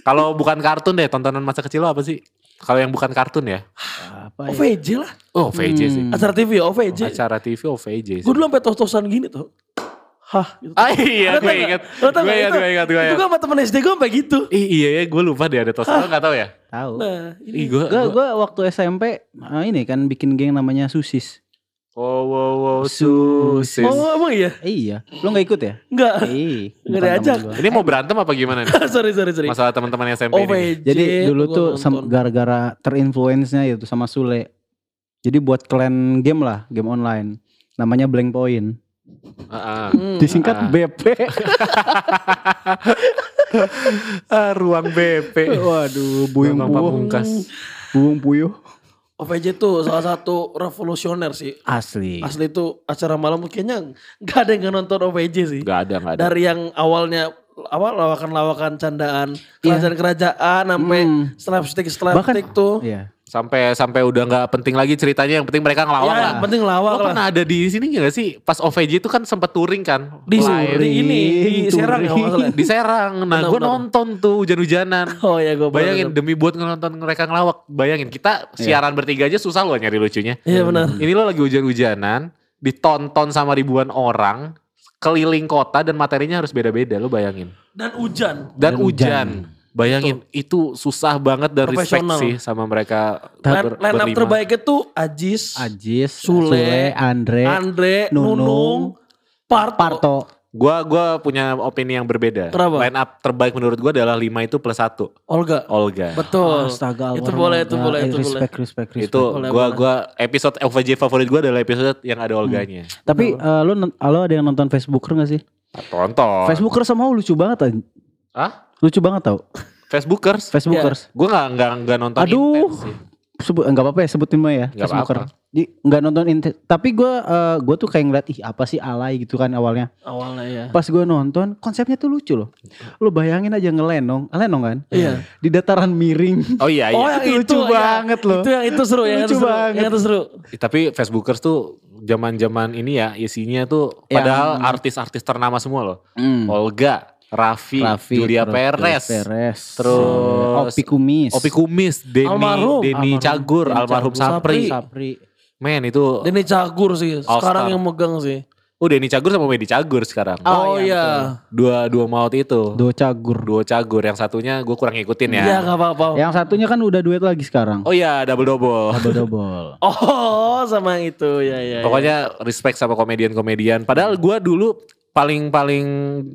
Speaker 2: Kalau bukan kartun deh, tontonan masa kecil lo apa sih? Kalau yang bukan kartun ya?
Speaker 3: Apa ya?
Speaker 4: OVJ lah.
Speaker 2: Oh, VJ sih.
Speaker 3: Hmm.
Speaker 4: Acara TV ya,
Speaker 2: Oh,
Speaker 4: OVJ.
Speaker 2: acara TV OVJ sih.
Speaker 4: Gue dulu sampai tos-tosan gini tuh. Hah, gitu.
Speaker 2: Ah iya,
Speaker 4: Lo tau
Speaker 2: gue
Speaker 4: gak?
Speaker 2: inget.
Speaker 4: Lo tau
Speaker 2: Gue
Speaker 4: gak
Speaker 2: inget,
Speaker 4: itu?
Speaker 2: gue inget, gue
Speaker 4: Itu
Speaker 2: inget.
Speaker 4: gue sama temen SD gue sampai gitu.
Speaker 2: Ih, iya ya, gue lupa deh ada tos. Lo gak tau ya?
Speaker 3: Tahu.
Speaker 4: Nah,
Speaker 2: Ih,
Speaker 4: ini.
Speaker 2: gue.
Speaker 3: Gue gua waktu SMP ah, ini kan bikin geng namanya Susis.
Speaker 2: Wow, wow, wow, susis.
Speaker 4: Oh emang iya?
Speaker 3: Eh, iya, lu nggak ikut ya?
Speaker 4: Enggak.
Speaker 3: Eh,
Speaker 4: Nggak
Speaker 3: bukan
Speaker 4: diajak.
Speaker 3: temen gua.
Speaker 2: Ini mau berantem apa gimana nih?
Speaker 4: sorry, sorry, sorry.
Speaker 2: Masalah teman-teman SMP ini.
Speaker 4: OVJ.
Speaker 3: Jadi dulu
Speaker 4: gua
Speaker 3: tuh sem-
Speaker 4: nonton.
Speaker 3: gara-gara terinfluence-nya itu sama Sule. Jadi buat klan game lah, game online. Namanya Blank Point.
Speaker 2: Heeh. ah.
Speaker 4: Hmm.
Speaker 3: Disingkat BP.
Speaker 2: Ah, ruang BP.
Speaker 3: Waduh, buyung
Speaker 2: Bambang
Speaker 3: puyuh.
Speaker 2: Pamungkas.
Speaker 3: Buyung puyuh.
Speaker 4: OVJ tuh salah satu revolusioner sih.
Speaker 3: Asli.
Speaker 4: Asli tuh acara malam kayaknya nggak ada yang nggak nonton OVJ sih.
Speaker 2: Gak ada, gak ada.
Speaker 4: Dari yang awalnya apa lawakan-lawakan candaan kerajaan-kerajaan sampai
Speaker 3: Iya. Hmm.
Speaker 4: slapstick slapstick tuh.
Speaker 3: Iya.
Speaker 2: Sampai sampai udah nggak penting lagi ceritanya. Yang penting mereka
Speaker 4: Ya,
Speaker 2: ngelawak lah.
Speaker 4: yang penting lawak
Speaker 2: Lo
Speaker 4: lah.
Speaker 2: pernah ada di sini gak sih? Pas OVJ itu kan sempet touring kan?
Speaker 4: Di,
Speaker 2: Live.
Speaker 4: di ini di
Speaker 3: Touring,
Speaker 4: Serang ya kalau nggak salah.
Speaker 2: di Serang. Nah,
Speaker 4: Benar,
Speaker 2: gue
Speaker 4: benar.
Speaker 2: nonton tuh hujan-hujanan.
Speaker 4: Oh ya gue
Speaker 2: Bayangin demi buat nonton mereka ngelawak. Bayangin kita siaran bertiga aja susah loh nyari lucunya.
Speaker 4: Iya benar.
Speaker 2: Ini lo lagi hujan-hujanan, ditonton sama ribuan orang, keliling kota dan materinya harus beda-beda. Lo bayangin.
Speaker 4: Dan hujan.
Speaker 2: Dan,
Speaker 3: Dan
Speaker 2: hujan.
Speaker 3: hujan.
Speaker 2: Bayangin itu susah banget dan respect
Speaker 4: Profesional.
Speaker 2: sih sama mereka
Speaker 4: Line,
Speaker 2: ber-
Speaker 4: line up
Speaker 2: berlima.
Speaker 4: terbaiknya tuh Ajis,
Speaker 3: Ajis,
Speaker 4: Sule,
Speaker 3: Sule, Andre,
Speaker 4: Andre, Nunung,
Speaker 3: Nunung,
Speaker 4: Parto.
Speaker 3: Parto.
Speaker 2: Gua gua punya opini yang berbeda.
Speaker 4: Kenapa?
Speaker 2: Line up terbaik menurut gua adalah lima itu plus satu.
Speaker 4: Olga.
Speaker 2: Olga.
Speaker 4: Betul.
Speaker 3: Astaga, Alvaro
Speaker 4: itu boleh, itu
Speaker 3: Morga.
Speaker 4: boleh,
Speaker 3: Eh,
Speaker 4: itu boleh.
Speaker 3: respect, respect, respect.
Speaker 2: itu
Speaker 4: boleh,
Speaker 2: gua
Speaker 4: boleh.
Speaker 2: gua episode LVJ favorit gua adalah episode yang ada Olganya.
Speaker 3: Tapi eh, lu, non- lu ada yang nonton Facebooker gak sih?
Speaker 4: Hmm.
Speaker 2: Tonton.
Speaker 3: Facebooker sama lucu banget anj-
Speaker 2: Hah?
Speaker 3: Lucu banget tau
Speaker 2: Facebookers?
Speaker 3: Facebookers
Speaker 2: Gue gak, nggak nggak nonton
Speaker 3: Aduh.
Speaker 2: intens sih.
Speaker 3: Sebut, Enggak apa-apa ya sebutin mah ya
Speaker 2: Iya. Nggak
Speaker 3: Facebooker
Speaker 2: apa-apa.
Speaker 3: Di- Nggak nonton inti- Tapi gue eh, gua tuh kayak ngeliat Ih apa sih alay gitu kan awalnya
Speaker 4: Awalnya ya.
Speaker 3: Pas gue nonton Konsepnya tuh lucu loh Lu bayangin aja ngelenong Lenong kan
Speaker 4: Iya.
Speaker 3: Di dataran miring
Speaker 2: Oh iya, iya.
Speaker 4: Oh, yang
Speaker 3: Itu lucu
Speaker 4: itu, iya.
Speaker 3: banget loh
Speaker 4: Itu yang itu seru, yang
Speaker 3: Lucu
Speaker 4: itu seru,
Speaker 3: banget.
Speaker 4: yang itu seru.
Speaker 2: Eh, Tapi Facebookers tuh zaman-zaman ini ya isinya tuh
Speaker 3: Yang-
Speaker 2: padahal artis-artis ternama semua loh.
Speaker 3: Hmm.
Speaker 2: Olga, Raffi,
Speaker 3: Raffi,
Speaker 2: Julia
Speaker 3: terus
Speaker 2: Perez,
Speaker 3: Julia Perez,
Speaker 2: terus
Speaker 3: Opi Kumis,
Speaker 2: Opi Kumis, Denny,
Speaker 4: Almarhum.
Speaker 2: Denny
Speaker 3: Almarhum.
Speaker 2: Cagur,
Speaker 3: Denny
Speaker 2: almarhum
Speaker 3: Cagur.
Speaker 2: Sapri.
Speaker 3: Sapri.
Speaker 2: Men itu,
Speaker 4: Ini Cagur sih,
Speaker 2: All
Speaker 4: sekarang
Speaker 2: Star.
Speaker 4: yang megang sih.
Speaker 2: oh Denny Cagur sama Medi Cagur sekarang.
Speaker 4: Oh, iya.
Speaker 2: Dua dua maut itu.
Speaker 3: Do Cagur.
Speaker 2: Dua Cagur, yang satunya gue kurang ngikutin ya.
Speaker 4: Iya gak apa-apa.
Speaker 3: Yang satunya kan udah duet lagi sekarang.
Speaker 2: Oh iya, double-double.
Speaker 3: Double double.
Speaker 4: Oh sama yang itu, ya ya.
Speaker 2: Iya,
Speaker 4: ya.
Speaker 2: Pokoknya respect sama komedian-komedian. Padahal gua dulu paling-paling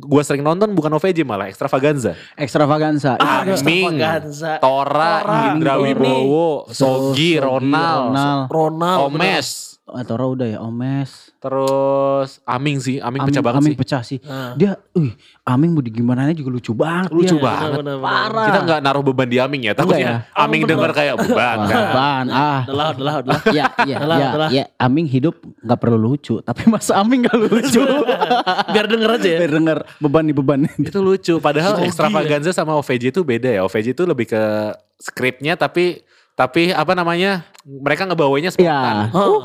Speaker 2: gua sering nonton bukan OVJ malah Extravaganza.
Speaker 3: Extravaganza.
Speaker 4: Ah,
Speaker 3: Itu-
Speaker 2: Ming,
Speaker 4: Extravaganza.
Speaker 2: Tora,
Speaker 4: Tora,
Speaker 2: Indra
Speaker 4: Ini.
Speaker 2: Wibowo, Sogi, Ronald,
Speaker 3: Ronald.
Speaker 4: Ronald.
Speaker 2: Omes,
Speaker 3: Ah, Tora udah ya, Omes.
Speaker 2: terus Aming sih, Aming,
Speaker 3: Aming,
Speaker 2: pecah banget
Speaker 3: Aming
Speaker 2: sih.
Speaker 3: pecah sih.
Speaker 4: Ah.
Speaker 3: Dia, uh, Aming mau digimana juga lucu banget.
Speaker 2: Lucu
Speaker 3: dia.
Speaker 2: banget.
Speaker 4: Iya, Benar, benar, benar.
Speaker 3: Parah.
Speaker 2: Kita nggak naruh beban di Aming ya, takutnya
Speaker 4: ya?
Speaker 2: Aming
Speaker 4: Oh,
Speaker 2: dengar kayak beban.
Speaker 3: Wah,
Speaker 2: kan.
Speaker 3: Ban, ah.
Speaker 4: Udah lah, udah lah, udah lah.
Speaker 3: Ya, ya,
Speaker 4: Adalah,
Speaker 3: ya,
Speaker 4: adalah.
Speaker 3: ya. Aming hidup nggak perlu lucu, tapi masa Aming nggak lucu.
Speaker 2: Iya.
Speaker 4: Biar denger aja ya.
Speaker 3: Biar denger beban di beban.
Speaker 2: Itu lucu. Padahal
Speaker 4: Sogi ya.
Speaker 2: Extravaganza sama OVJ itu beda ya. OVJ itu lebih ke skripnya tapi tapi apa namanya? Mereka ngebawainya spontan.
Speaker 3: Ya.
Speaker 4: Hah.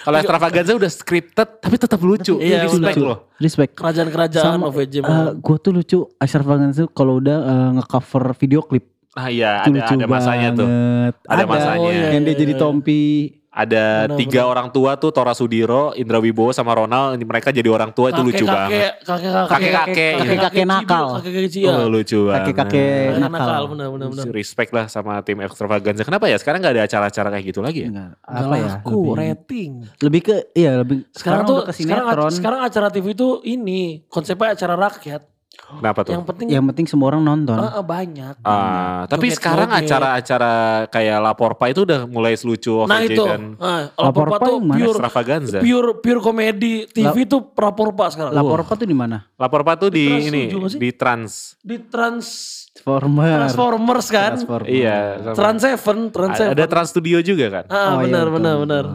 Speaker 2: Kalau extravaganza udah scripted tapi tetap lucu.
Speaker 4: Iya,
Speaker 2: Itu respect
Speaker 4: lucu.
Speaker 2: loh.
Speaker 3: Respect.
Speaker 4: Kerajaan-kerajaan
Speaker 3: Sama,
Speaker 4: OVJ.
Speaker 3: Eh, gue tuh lucu Extravaganza tuh kalau udah eh, ngecover video klip.
Speaker 2: Nah iya
Speaker 3: Itu
Speaker 2: ada,
Speaker 3: lucu
Speaker 2: ada masanya tuh.
Speaker 3: banget.
Speaker 2: Ada masanya.
Speaker 4: Oh, iya,
Speaker 3: Yang dia
Speaker 4: iya,
Speaker 3: jadi
Speaker 4: iya.
Speaker 3: Tompi.
Speaker 2: Ada
Speaker 4: Benar,
Speaker 2: tiga orang tua tuh Tora Sudiro, Indra Wibowo sama Ronald. Ini Mereka jadi orang tua Oh, itu lucu banget.
Speaker 4: Kakek-kakek.
Speaker 2: Kakek-kakek, gitu.
Speaker 3: Kakek-kakek nakal.
Speaker 4: Kakek-kakek
Speaker 2: Oh,
Speaker 4: cia.
Speaker 2: lucu banget.
Speaker 3: Kakek-kakek
Speaker 4: Kakek nakal,
Speaker 3: nakal.
Speaker 4: benar, iya. benar, benar.
Speaker 2: Respect lah sama tim extravaganza. Kenapa ya sekarang gak ada acara-acara kayak gitu lagi ya?
Speaker 3: Enggak,
Speaker 4: Gak
Speaker 3: apa ya?
Speaker 4: laku,
Speaker 3: lebih,
Speaker 4: rating.
Speaker 3: lebih ke iya lebih
Speaker 4: Sekarang, tuh,
Speaker 3: udah ke
Speaker 4: sekarang, ac-
Speaker 3: sinetron.
Speaker 4: sekarang acara TV itu ini, konsepnya acara rakyat.
Speaker 2: Kenapa tuh?
Speaker 4: Yang penting
Speaker 3: yang penting semua orang nonton.
Speaker 4: ah, ah, banyak.
Speaker 2: Ah, tapi
Speaker 4: Joget-joget.
Speaker 2: sekarang acara-acara kayak Laporpa itu udah mulai selucu
Speaker 4: Nah
Speaker 2: OVJ
Speaker 4: itu,
Speaker 2: dan
Speaker 4: ah, lapor
Speaker 3: Lapor
Speaker 4: pak
Speaker 3: Pak
Speaker 4: tuh
Speaker 3: yang mana?
Speaker 4: pure,
Speaker 2: extravaganza.
Speaker 4: pure, pure komedi. TV tuh rapor pak sekarang.
Speaker 3: Lapor apa tuh di mana?
Speaker 2: Laporpa tuh di,
Speaker 4: Trans
Speaker 2: ini,
Speaker 4: lucu gak sih?
Speaker 2: di trans.
Speaker 4: Di trans,
Speaker 3: Transformer.
Speaker 4: Transformers kan.
Speaker 3: Transformer.
Speaker 2: Iya. sama.
Speaker 4: Trans Seven, Trans Seven.
Speaker 2: ada trans studio juga kan?
Speaker 4: Ah,
Speaker 3: Oh, iya,
Speaker 4: benar,
Speaker 3: betul,
Speaker 4: benar,
Speaker 3: betul.
Speaker 4: benar.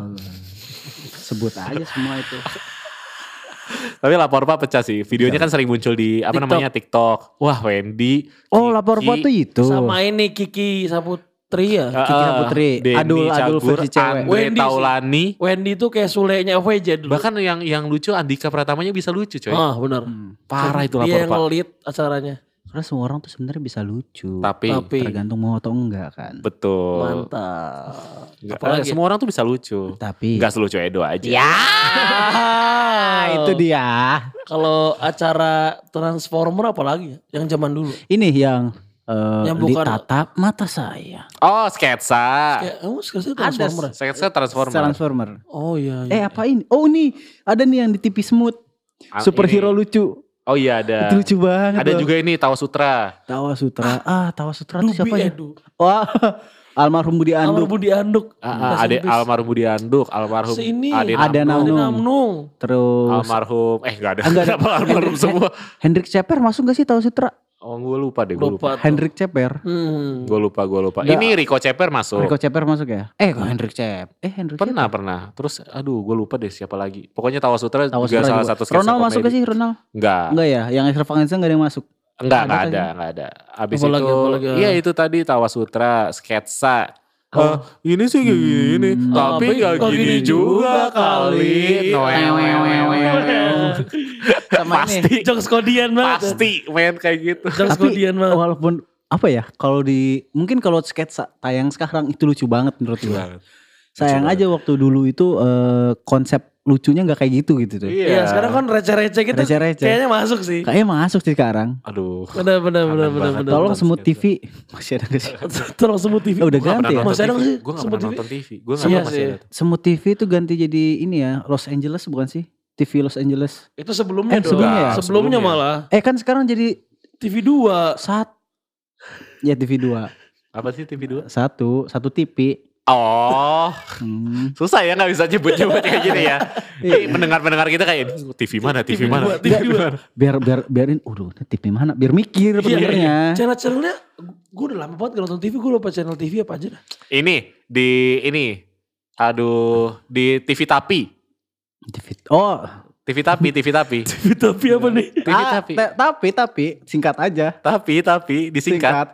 Speaker 3: Sebut aja semua itu.
Speaker 2: Tapi lapor pak pecah sih. Videonya kan sering muncul di apa
Speaker 4: TikTok.
Speaker 2: namanya TikTok. Wah Wendy.
Speaker 3: Oh,
Speaker 2: Kiki,
Speaker 3: lapor apa tuh itu?
Speaker 4: Sama ini Kiki Saput Putri ya.
Speaker 3: Kiki Putri,
Speaker 2: Denny
Speaker 3: Adul- Adul
Speaker 2: Cagur,
Speaker 3: versi cewek.
Speaker 2: Andre
Speaker 4: Wendy sih.
Speaker 2: Taulani,
Speaker 4: Wendy itu kayak sulenya OVJ dulu.
Speaker 2: bahkan yang yang lucu Andika Pratamanya bisa lucu coy.
Speaker 4: Ah benar.
Speaker 3: Hmm.
Speaker 2: Parah itu lapor
Speaker 4: Dia yang
Speaker 2: pak.
Speaker 4: lead acaranya.
Speaker 3: Karena semua orang tuh sebenarnya bisa lucu.
Speaker 2: Tapi,
Speaker 4: Tapi
Speaker 3: Tergantung mau atau enggak kan.
Speaker 2: betul.
Speaker 4: mantap.
Speaker 2: Oh. Nggak-
Speaker 4: Apalagi?
Speaker 2: semua orang tuh bisa lucu.
Speaker 3: Tapi
Speaker 2: Enggak selucu Edo aja.
Speaker 3: Iya. Ah, itu dia.
Speaker 4: Kalau acara Transformer apalagi yang zaman dulu.
Speaker 3: Ini yang eh,
Speaker 4: Yang bukan-
Speaker 3: di tatap mata saya.
Speaker 2: Oh sketsa.
Speaker 4: Kayak kamu sekarang
Speaker 3: Ada.
Speaker 4: Transformer. ya?
Speaker 2: Sketsa Transformer.
Speaker 3: Transformer.
Speaker 4: Oh iya.
Speaker 3: Eh
Speaker 4: iya.
Speaker 3: apa ini? Oh ini ada nih yang di TV Smooth.
Speaker 2: Ah,
Speaker 3: Superhero
Speaker 2: ini.
Speaker 3: lucu.
Speaker 2: Oh iya
Speaker 3: Itu
Speaker 2: ada.
Speaker 3: lucu banget.
Speaker 2: Ada
Speaker 3: loh.
Speaker 2: juga ini Tawa Sutra.
Speaker 3: Tawa Sutra. Ah, Tawa Sutra itu
Speaker 4: Dubi
Speaker 3: siapa ya?
Speaker 4: Edu.
Speaker 3: Wah, almarhum Budi
Speaker 4: eh. Almarhum
Speaker 3: Anduk.
Speaker 4: Budi Anduk.
Speaker 3: Iya,
Speaker 2: Ah, ah, Ade
Speaker 4: Rest in peace.
Speaker 2: almarhum Budi Anduk, almarhum
Speaker 4: Si ini.
Speaker 2: Ade
Speaker 3: Ade
Speaker 2: Namnung,
Speaker 4: Ade
Speaker 3: Namnung.
Speaker 4: Namnung.
Speaker 3: Terus
Speaker 2: almarhum eh enggak ada.
Speaker 3: Enggak ada.
Speaker 2: Kenapa almarhum
Speaker 3: Hendrik-
Speaker 2: semua?
Speaker 3: Hendrik Ceper masuk gak sih Tawa Sutra?
Speaker 2: Oh, gue lupa deh, gue lupa.
Speaker 4: Lupa. tuh.
Speaker 3: Hendrik Ceper.
Speaker 4: Hmm.
Speaker 2: Gue lupa, gue lupa.
Speaker 3: Enggak.
Speaker 2: Ini Rico Ceper masuk.
Speaker 3: Rico Ceper masuk ya? Eh, kok Hendrik Cep? Eh, Hendrik Ceper.
Speaker 2: Pernah, pernah. Terus aduh, gue lupa deh siapa lagi. Pokoknya Tawa Sutra
Speaker 3: Tawa
Speaker 2: juga
Speaker 3: Sutra
Speaker 2: salah
Speaker 3: juga.
Speaker 2: satu sketsa
Speaker 3: Ronald masuk gak sih Ronald?
Speaker 2: Enggak.
Speaker 3: Enggak ya, yang Extra Vaganza gak ada yang masuk.
Speaker 2: Enggak, enggak
Speaker 3: Ada
Speaker 2: ada,
Speaker 3: kan?
Speaker 2: enggak ada. Abis
Speaker 4: Apa lagi,
Speaker 2: itu,
Speaker 4: apa lagi?
Speaker 2: iya itu tadi Tawa Sutra, sketsa.
Speaker 3: Oh.
Speaker 2: Ah, ini sih kayak gini, tapi
Speaker 4: Tapi
Speaker 2: nggak
Speaker 4: kok
Speaker 2: gini
Speaker 4: gini
Speaker 2: juga
Speaker 4: juga
Speaker 2: kali.
Speaker 4: kali.
Speaker 2: Noel, noel, noel, noel. Pasti,
Speaker 4: Jokes kodian banget. ya,
Speaker 2: pasti main kayak gitu.
Speaker 4: Jokes
Speaker 3: Tapi Oh,
Speaker 4: kodian banget.
Speaker 3: walaupun apa ya kalau di mungkin kalau sketsa tayang sekarang itu lucu banget menurut gue.
Speaker 2: Iya,
Speaker 3: Sayang aja waktu dulu itu eh, konsep lucunya nggak kayak gitu gitu tuh.
Speaker 2: Iya,
Speaker 4: Iya, sekarang kan receh-receh gitu.
Speaker 3: Receh-receh.
Speaker 4: Kayaknya masuk sih.
Speaker 3: Kayaknya masuk sih sekarang.
Speaker 2: Aduh.
Speaker 4: Benar benar
Speaker 2: Kangen
Speaker 4: benar benar
Speaker 2: banget.
Speaker 4: benar.
Speaker 3: Tolong
Speaker 2: nonton
Speaker 3: semut
Speaker 2: sketsa.
Speaker 3: TV masih ada gak sih?
Speaker 4: Tolong semut TV.
Speaker 3: Eh, udah
Speaker 2: Gua nggak
Speaker 3: ganti
Speaker 2: pernah
Speaker 3: ya.
Speaker 2: nonton
Speaker 4: Masih ada
Speaker 2: TV.
Speaker 4: nggak sih?
Speaker 2: Gua nggak
Speaker 4: Semut
Speaker 2: pernah
Speaker 4: TV?
Speaker 2: nonton TV. Gue
Speaker 4: Iya
Speaker 2: masih
Speaker 4: sih.
Speaker 2: ada.
Speaker 3: Semut TV itu ganti jadi ini ya Los Angeles bukan sih? TV Los Angeles.
Speaker 4: Itu sebelumnya
Speaker 3: Eh,
Speaker 4: dong.
Speaker 3: sebelumnya ya?
Speaker 4: sebelumnya,
Speaker 2: Sebelumnya.
Speaker 4: malah.
Speaker 3: Eh kan sekarang jadi
Speaker 4: TV 2.
Speaker 3: saat ya TV 2
Speaker 2: Apa sih TV 2?
Speaker 3: satu satu TV.
Speaker 2: Oh,
Speaker 3: Hmm.
Speaker 2: susah ya nggak bisa nyebut-nyebut kayak gini ya. Ini Pendengar-pendengar kita kayak TV mana, TV,
Speaker 4: TV
Speaker 2: mana,
Speaker 4: dua, TV dua.
Speaker 2: mana.
Speaker 3: Biar biar biarin. uh, Udah TV mana? Biar mikir
Speaker 4: Iya,
Speaker 3: benernya.
Speaker 4: Channel-channelnya gue udah lama banget gak nonton TV, gue lupa channel TV apa aja dah.
Speaker 2: Ini di ini, aduh di TV tapi,
Speaker 3: TV. Oh,
Speaker 2: TV tapi, TV tapi,
Speaker 4: TV tapi apa nih?
Speaker 2: TV
Speaker 3: Ah,
Speaker 2: tapi,
Speaker 3: te- tapi tapi singkat aja.
Speaker 2: tapi tapi disingkat,
Speaker 3: Singkat.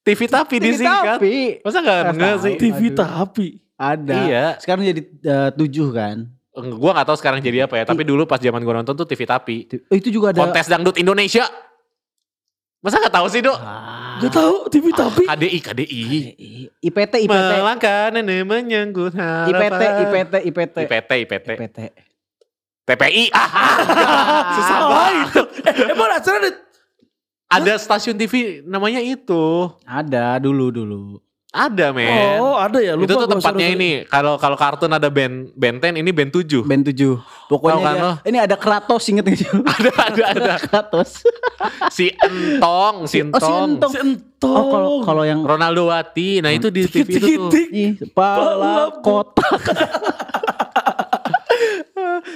Speaker 2: TV tapi disingkat.
Speaker 3: Tapi
Speaker 2: Masa nggak
Speaker 3: Nggak
Speaker 2: nggak
Speaker 3: tahu.
Speaker 2: sih?
Speaker 4: TV
Speaker 3: Aduh.
Speaker 4: tapi.
Speaker 3: ada.
Speaker 2: Iya,
Speaker 3: Sekarang jadi eh, tujuh kan.
Speaker 2: gue nggak tahu sekarang jadi apa ya. Tapi dulu pas zaman gue nonton tuh TV tapi,
Speaker 3: Ti- Oh, itu juga ada.
Speaker 2: kontes dangdut Indonesia. Masa nggak tahu sih dok?
Speaker 3: Ah,
Speaker 4: Gak tau TV tapi.
Speaker 2: KDI, KDI.
Speaker 3: I- IPT IPT
Speaker 2: Melangkah nenek menyangkut
Speaker 3: IPT
Speaker 2: harapan.
Speaker 3: IPT IPT
Speaker 2: IPT, IPT,
Speaker 3: IPT.
Speaker 2: TPI. Ah, ah. susah banget.
Speaker 4: Eh, emang acara ada
Speaker 2: Ada stasiun TV namanya itu.
Speaker 3: Ada dulu dulu.
Speaker 2: Ada men.
Speaker 4: Oh ada ya,
Speaker 2: itu tuh
Speaker 4: lupa gua
Speaker 2: tempatnya
Speaker 4: sorry, sorry.
Speaker 2: ini. Kalau kalau kartun ada band benten ini band 7.
Speaker 3: Band 7.
Speaker 2: Tahu kan
Speaker 3: Pokoknya
Speaker 2: lo?
Speaker 3: dia, ini ada Kratos inget gak sih?
Speaker 2: ada ada ada.
Speaker 3: Kratos.
Speaker 2: Si Entong, si
Speaker 3: Oh, si
Speaker 2: Entong.
Speaker 3: Entong.
Speaker 4: Si Entong.
Speaker 3: Oh, kalau kalau yang
Speaker 2: Ronaldo Wati. Nah, itu di TV itu tuh.
Speaker 4: Tik-tik-tik.
Speaker 3: Ih, pala
Speaker 4: Pala
Speaker 3: kotak.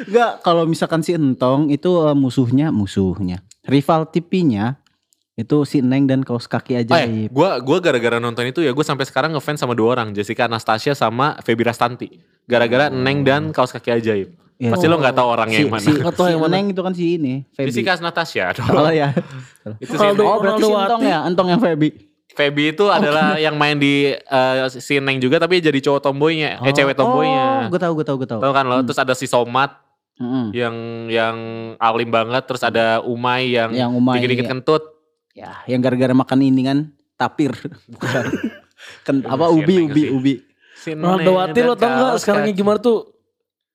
Speaker 3: Enggak, kalau misalkan si Entong itu eh, musuhnya, musuhnya. Rival tipinya itu si Neng dan kaos
Speaker 2: Oh,
Speaker 3: kaki
Speaker 2: eh,
Speaker 3: ajaib.
Speaker 2: gua gua gara-gara nonton itu ya gue sampai sekarang ngefans sama dua orang, Jessica Anastasia sama Feby Rastanti. Gara-gara Neng dan kaos kaki ajaib.
Speaker 3: Iya.
Speaker 2: Pasti lo nggak tahu orangnya
Speaker 3: Si,
Speaker 2: yang mana.
Speaker 3: si,
Speaker 4: Nggak tahu
Speaker 3: si
Speaker 4: yang mana.
Speaker 3: Neng itu kan si ini, Feby.
Speaker 2: Jessica Anastasia. dong.
Speaker 3: Salah ya.
Speaker 2: Itu si
Speaker 4: Kalau
Speaker 2: Neng.
Speaker 3: Oh, berarti si
Speaker 4: Ronaldo
Speaker 3: Entong
Speaker 4: Wati.
Speaker 3: ya, Entong yang Feby.
Speaker 2: Feby itu adalah yang main di eh, si Neng juga tapi jadi cowok tomboynya, eh cewek
Speaker 3: Oh, gitu. Hmm.
Speaker 2: tomboynya.
Speaker 3: gue tahu, gue tahu, gue tahu.
Speaker 2: Tahu kan lo? Terus ada si Somat
Speaker 3: Mm-mm.
Speaker 2: yang yang alim banget, terus ada Umay yang,
Speaker 3: Yang Ya, Umay.
Speaker 2: dikit-dikit kentut.
Speaker 3: Ya, yang gara-gara makan ini kan tapir. Bukan. Ken,
Speaker 2: Si
Speaker 3: apa ubi
Speaker 2: Neng
Speaker 3: ubi
Speaker 2: sih.
Speaker 3: ubi.
Speaker 2: Si
Speaker 4: Ronaldo
Speaker 2: Neng
Speaker 4: Wati
Speaker 2: dan
Speaker 4: lo tau gak
Speaker 2: kaos kan.
Speaker 4: sekarangnya
Speaker 2: kaki.
Speaker 4: gimana tuh?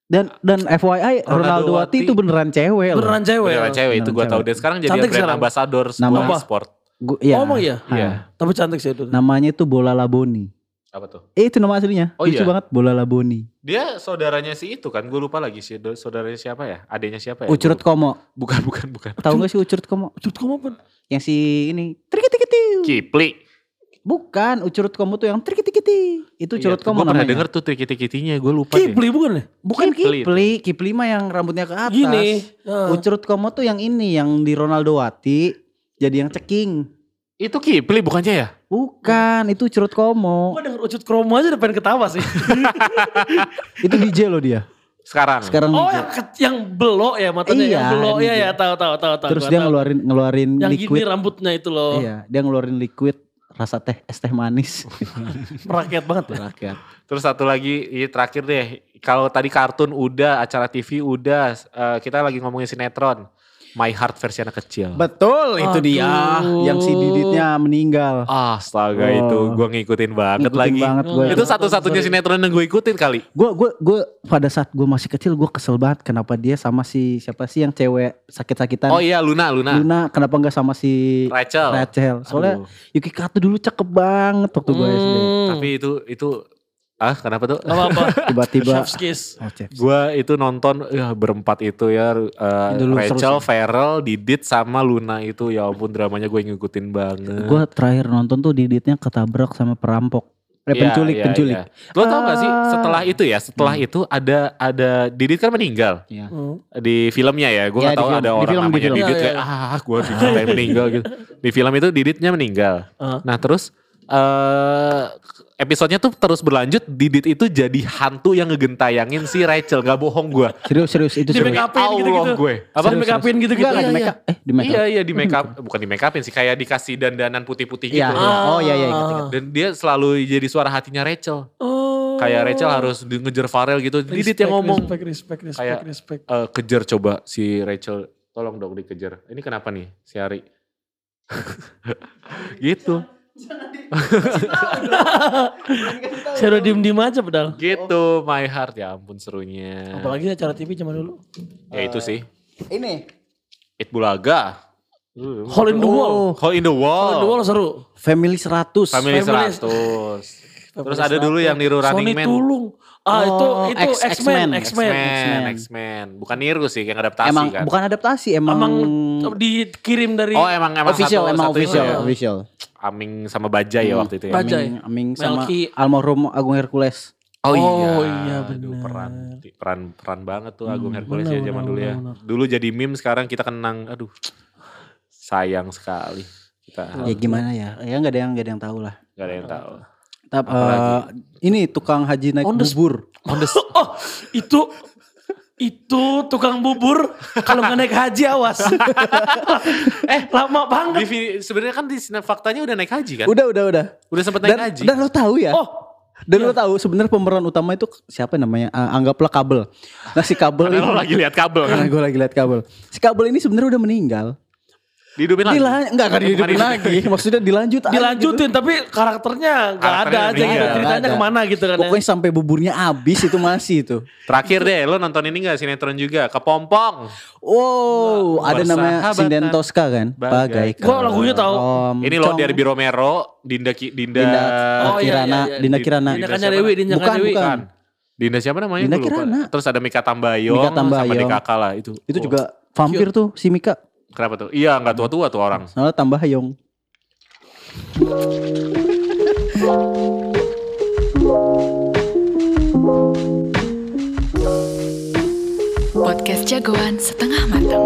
Speaker 3: Dan dan FYI
Speaker 2: Ronaldo
Speaker 3: Ronaldo Wati
Speaker 2: Wati.
Speaker 3: itu beneran cewek loh.
Speaker 4: Beneran cewek.
Speaker 2: Beneran cewek itu gue
Speaker 3: Beneran
Speaker 2: tahu
Speaker 3: cewek.
Speaker 2: dan sekarang jadi
Speaker 4: Cantik
Speaker 2: brand
Speaker 4: sekarang.
Speaker 2: ambassador sebuah
Speaker 3: Nama.
Speaker 2: sport.
Speaker 3: Gua, ya.
Speaker 4: Oh, emang iya?
Speaker 2: Iya.
Speaker 3: Ha.
Speaker 4: Tapi cantik sih itu.
Speaker 3: Namanya itu Bola Laboni.
Speaker 2: Apa tuh?
Speaker 3: Eh, itu nama aslinya.
Speaker 2: Oh,
Speaker 3: Lucu
Speaker 2: iya?
Speaker 3: banget Bola Laboni.
Speaker 2: Dia saudaranya si itu kan, gue lupa lagi si do- saudaranya siapa ya? Adanya siapa ya?
Speaker 3: Ucurut Komo.
Speaker 2: Bukan bukan bukan.
Speaker 3: Tahu gak sih Ucurut Komo?
Speaker 4: Cut kamu apa?
Speaker 3: Yang si ini trikitikitiu.
Speaker 2: Kipli.
Speaker 3: Bukan, Ucurut Komo tuh yang trikitikiti. Itu Ucurut
Speaker 2: Gue
Speaker 3: Komo
Speaker 2: Iya, pernah
Speaker 3: namanya.
Speaker 2: denger tuh tiki-tikitinya, gue lupa deh.
Speaker 4: Kipli bukan ya?
Speaker 3: Bukan
Speaker 2: Kipli.
Speaker 3: Kipli. Kipli mah yang rambutnya ke atas.
Speaker 4: Gini. ah.
Speaker 3: Ucurut Komo tuh yang ini yang di Ronaldo Wati jadi yang ceking.
Speaker 2: Itu Kipli bukannya ya?
Speaker 3: Bukan, itu Ucurut Komo.
Speaker 4: Gue denger ucut kromo aja udah pengen ketawa sih.
Speaker 3: itu DJ loh dia.
Speaker 2: Sekarang.
Speaker 3: Sekarang
Speaker 4: oh
Speaker 3: DJ.
Speaker 4: yang, ke- yang belok ya matanya.
Speaker 3: Iya,
Speaker 4: yang belok ya
Speaker 3: iya.
Speaker 4: ya tahu tahu tahu tahu.
Speaker 3: Terus
Speaker 4: gua
Speaker 3: dia
Speaker 4: tahu.
Speaker 3: ngeluarin ngeluarin
Speaker 4: yang
Speaker 3: liquid.
Speaker 4: gini rambutnya itu loh.
Speaker 3: Iya, dia ngeluarin liquid rasa teh es teh manis
Speaker 4: Merakyat banget ya.
Speaker 3: rakyat.
Speaker 2: Terus satu lagi ini terakhir deh. Kalau tadi kartun udah, acara TV udah, eh, kita lagi ngomongin sinetron. My Heart versi anak kecil.
Speaker 3: Betul itu dia
Speaker 4: Aduh.
Speaker 3: yang si Diditnya meninggal.
Speaker 2: Astaga
Speaker 3: Oh.
Speaker 2: itu gue ngikutin banget
Speaker 3: Ngikutin
Speaker 2: lagi.
Speaker 3: banget gua.
Speaker 2: Itu satu-satunya sinetron yang gue ikutin kali.
Speaker 3: Gue gue gue pada saat gue masih kecil gue kesel banget kenapa dia sama si siapa sih yang cewek sakit-sakitan
Speaker 2: Oh iya Luna, Luna.
Speaker 3: Luna kenapa nggak sama si
Speaker 2: Rachel.
Speaker 3: Nah. Rachel?
Speaker 2: Aduh,
Speaker 3: Soalnya Yuki Kato dulu cakep banget waktu gue SD.
Speaker 2: Tapi
Speaker 3: Hmm.
Speaker 2: itu itu ah kenapa tuh?
Speaker 4: Hmm. Gak apa-apa.
Speaker 3: Tiba-tiba
Speaker 4: Chef's kiss.
Speaker 3: Oh, Chef.
Speaker 2: Gua itu nonton ya berempat itu ya eh,
Speaker 3: Dulu seru
Speaker 2: Rachel,
Speaker 3: sih.
Speaker 2: Ferrell, Didit sama Luna itu ya ampun dramanya gue ngikutin banget.
Speaker 3: Gue terakhir nonton tuh Diditnya ketabrak sama perampok. Eh,
Speaker 2: Iya,
Speaker 3: penculik,
Speaker 2: iya,
Speaker 3: penculik.
Speaker 2: iya. Lo tau gak sih
Speaker 3: Ah. Hmm.
Speaker 2: setelah itu ya, setelah itu ada ada Didit kan meninggal
Speaker 4: Hmm.
Speaker 2: di filmnya ya. Gue gak
Speaker 3: Iya, di
Speaker 2: tau
Speaker 3: film.
Speaker 2: ada
Speaker 3: Di
Speaker 2: orang
Speaker 3: film, di
Speaker 2: namanya
Speaker 3: film.
Speaker 2: Didit
Speaker 4: Iya,
Speaker 2: kayak ah gue dicintai meninggal gitu. Di film itu Diditnya meninggal.
Speaker 4: Ah.
Speaker 2: Nah terus eh episodenya tuh terus berlanjut Didit itu jadi hantu yang ngegentayangin si Rachel. Gak bohong gue.
Speaker 3: Serius, serius itu
Speaker 4: Di
Speaker 3: serius.
Speaker 4: make upin gitu-gitu.
Speaker 2: Allah gue.
Speaker 4: Apa di make upin gitu-gitu.
Speaker 3: Enggak, enggak di make up. Eh, di make up.
Speaker 2: Iya iya di make up bukan di make upin sih kayak dikasih dandanan putih-putih
Speaker 3: Iya.
Speaker 2: gitu.
Speaker 3: iya.
Speaker 4: Ah.
Speaker 3: Oh iya iya ingat ingat.
Speaker 2: Dan dia selalu jadi suara hatinya Rachel.
Speaker 4: Oh.
Speaker 2: Kayak Rachel harus di- ngejar Farel gitu. Didit
Speaker 4: Respect,
Speaker 2: yang ngomong
Speaker 4: Respect, respect, respect,
Speaker 2: Kayak-
Speaker 4: respect.
Speaker 2: "Eh, kejar coba si Rachel. Tolong dong dikejar. Ini kenapa nih si Ari? gitu.
Speaker 4: Saya udah diem-diem aja padahal.
Speaker 2: Gitu my heart ya ampun serunya.
Speaker 4: Apalagi acara TV zaman dulu.
Speaker 2: Ya itu sih.
Speaker 3: Ini.
Speaker 2: It Bulaga.
Speaker 4: Hole in the wall.
Speaker 2: Hole in the
Speaker 4: Hole in the
Speaker 2: wall.
Speaker 4: wall seru.
Speaker 3: Family 100.
Speaker 2: Family
Speaker 4: Family-
Speaker 2: 100. Terus
Speaker 4: Pemeran
Speaker 2: ada dulu
Speaker 4: selatan.
Speaker 2: yang niru Running
Speaker 4: Sony
Speaker 2: Man.
Speaker 4: Tulung. Ah itu
Speaker 3: Oh,
Speaker 4: itu
Speaker 3: X-
Speaker 4: X-Men,
Speaker 3: X-Men.
Speaker 4: X-Men.
Speaker 2: X-Men,
Speaker 3: X-Men.
Speaker 2: X-Men. Bukan niru sih yang adaptasi
Speaker 3: emang
Speaker 2: kan.
Speaker 3: bukan adaptasi, emang,
Speaker 4: Emang dikirim dari
Speaker 2: Oh emang emang
Speaker 3: official,
Speaker 2: satu,
Speaker 3: emang
Speaker 2: satu
Speaker 3: official, Hmm.
Speaker 2: itu ya.
Speaker 3: official.
Speaker 2: Aming sama Bajai ya waktu itu ya.
Speaker 4: Bajai.
Speaker 3: Aming, Aming sama
Speaker 4: Melki.
Speaker 3: almarhum Agung Hercules.
Speaker 2: Oh iya,
Speaker 4: Oh, iya,
Speaker 2: Aduh,
Speaker 4: benar.
Speaker 2: peran peran peran banget tuh Agung
Speaker 4: Hmm,
Speaker 2: Hercules
Speaker 4: benar,
Speaker 2: ya zaman
Speaker 4: benar,
Speaker 2: dulu ya.
Speaker 4: benar,
Speaker 2: Dulu jadi meme sekarang kita kenang. Aduh. Sayang sekali. Kita
Speaker 3: Ya gimana ya? Ya nggak ada yang nggak ada yang tahu lah.
Speaker 2: nggak ada yang tahu.
Speaker 3: Tapi
Speaker 2: Apalagi?
Speaker 3: eh, ini tukang haji naik
Speaker 4: On the
Speaker 3: bubur.
Speaker 4: Oh, itu itu tukang bubur kalau nggak naik haji awas. eh
Speaker 2: Di
Speaker 4: lama banget.
Speaker 2: vi- sebenarnya kan di Sinar faktanya udah naik haji kan?
Speaker 3: Udah, udah, udah.
Speaker 2: Udah sempet naik
Speaker 3: Dan,
Speaker 2: haji.
Speaker 3: dan lo tahu ya?
Speaker 4: Oh,
Speaker 3: Dan lo tahu sebenarnya pemeran utama itu siapa namanya? Ah, anggaplah kabel. Nah si kabel
Speaker 2: Karena
Speaker 3: ini,
Speaker 2: lo lagi lihat kabel kan.
Speaker 3: karena gue lagi lihat kabel. Si kabel ini sebenarnya udah meninggal.
Speaker 2: Dihidupin lagi.
Speaker 3: Dilan, enggak kan
Speaker 2: Bukan
Speaker 3: dihidupin
Speaker 2: dihidupin.
Speaker 3: lagi. Maksudnya dilanjut. aja gitu.
Speaker 4: dilanjutin tapi karakternya nggak ada
Speaker 2: Karakternya
Speaker 4: aja gitu.
Speaker 2: meninggal.
Speaker 4: Ceritanya
Speaker 3: Nggak ada.
Speaker 4: kemana gitu kan? ya.
Speaker 3: Pokoknya sampai buburnya habis itu masih itu.
Speaker 2: Terakhir deh, lo nonton ini gak sinetron juga? Kepompong.
Speaker 3: Wow,
Speaker 2: Wah,
Speaker 3: ada namanya
Speaker 2: persahabatan.
Speaker 3: Sinden Tosca kan?
Speaker 2: Bagai.
Speaker 3: Bagai.
Speaker 4: Gua lagunya tahu.
Speaker 2: Ini lo Derby Romero, Dinda Ki, Dinda,
Speaker 3: Dinda
Speaker 4: Oh, iya,
Speaker 3: Kirana,
Speaker 4: iya, iya.
Speaker 3: Dinda Kirana.
Speaker 4: Dinda
Speaker 2: siapa?
Speaker 4: Kanyarewi, Dinda
Speaker 3: Bukan,
Speaker 4: Kanyarewi.
Speaker 3: bukan.
Speaker 2: Dinda siapa namanya?
Speaker 3: Dinda
Speaker 2: Gua lupa.
Speaker 3: Kirana.
Speaker 2: Terus ada Mika Tambayong,
Speaker 3: Mika
Speaker 2: sama
Speaker 3: Tambayong.
Speaker 2: DKK lah itu.
Speaker 3: Itu
Speaker 2: Oh,
Speaker 3: juga vampir tuh si Mika.
Speaker 2: Kenapa tuh? Iya, nggak tua-tua tuh orang.
Speaker 3: Soalnya tambah Hayong.
Speaker 1: Podcast jagoan setengah matang.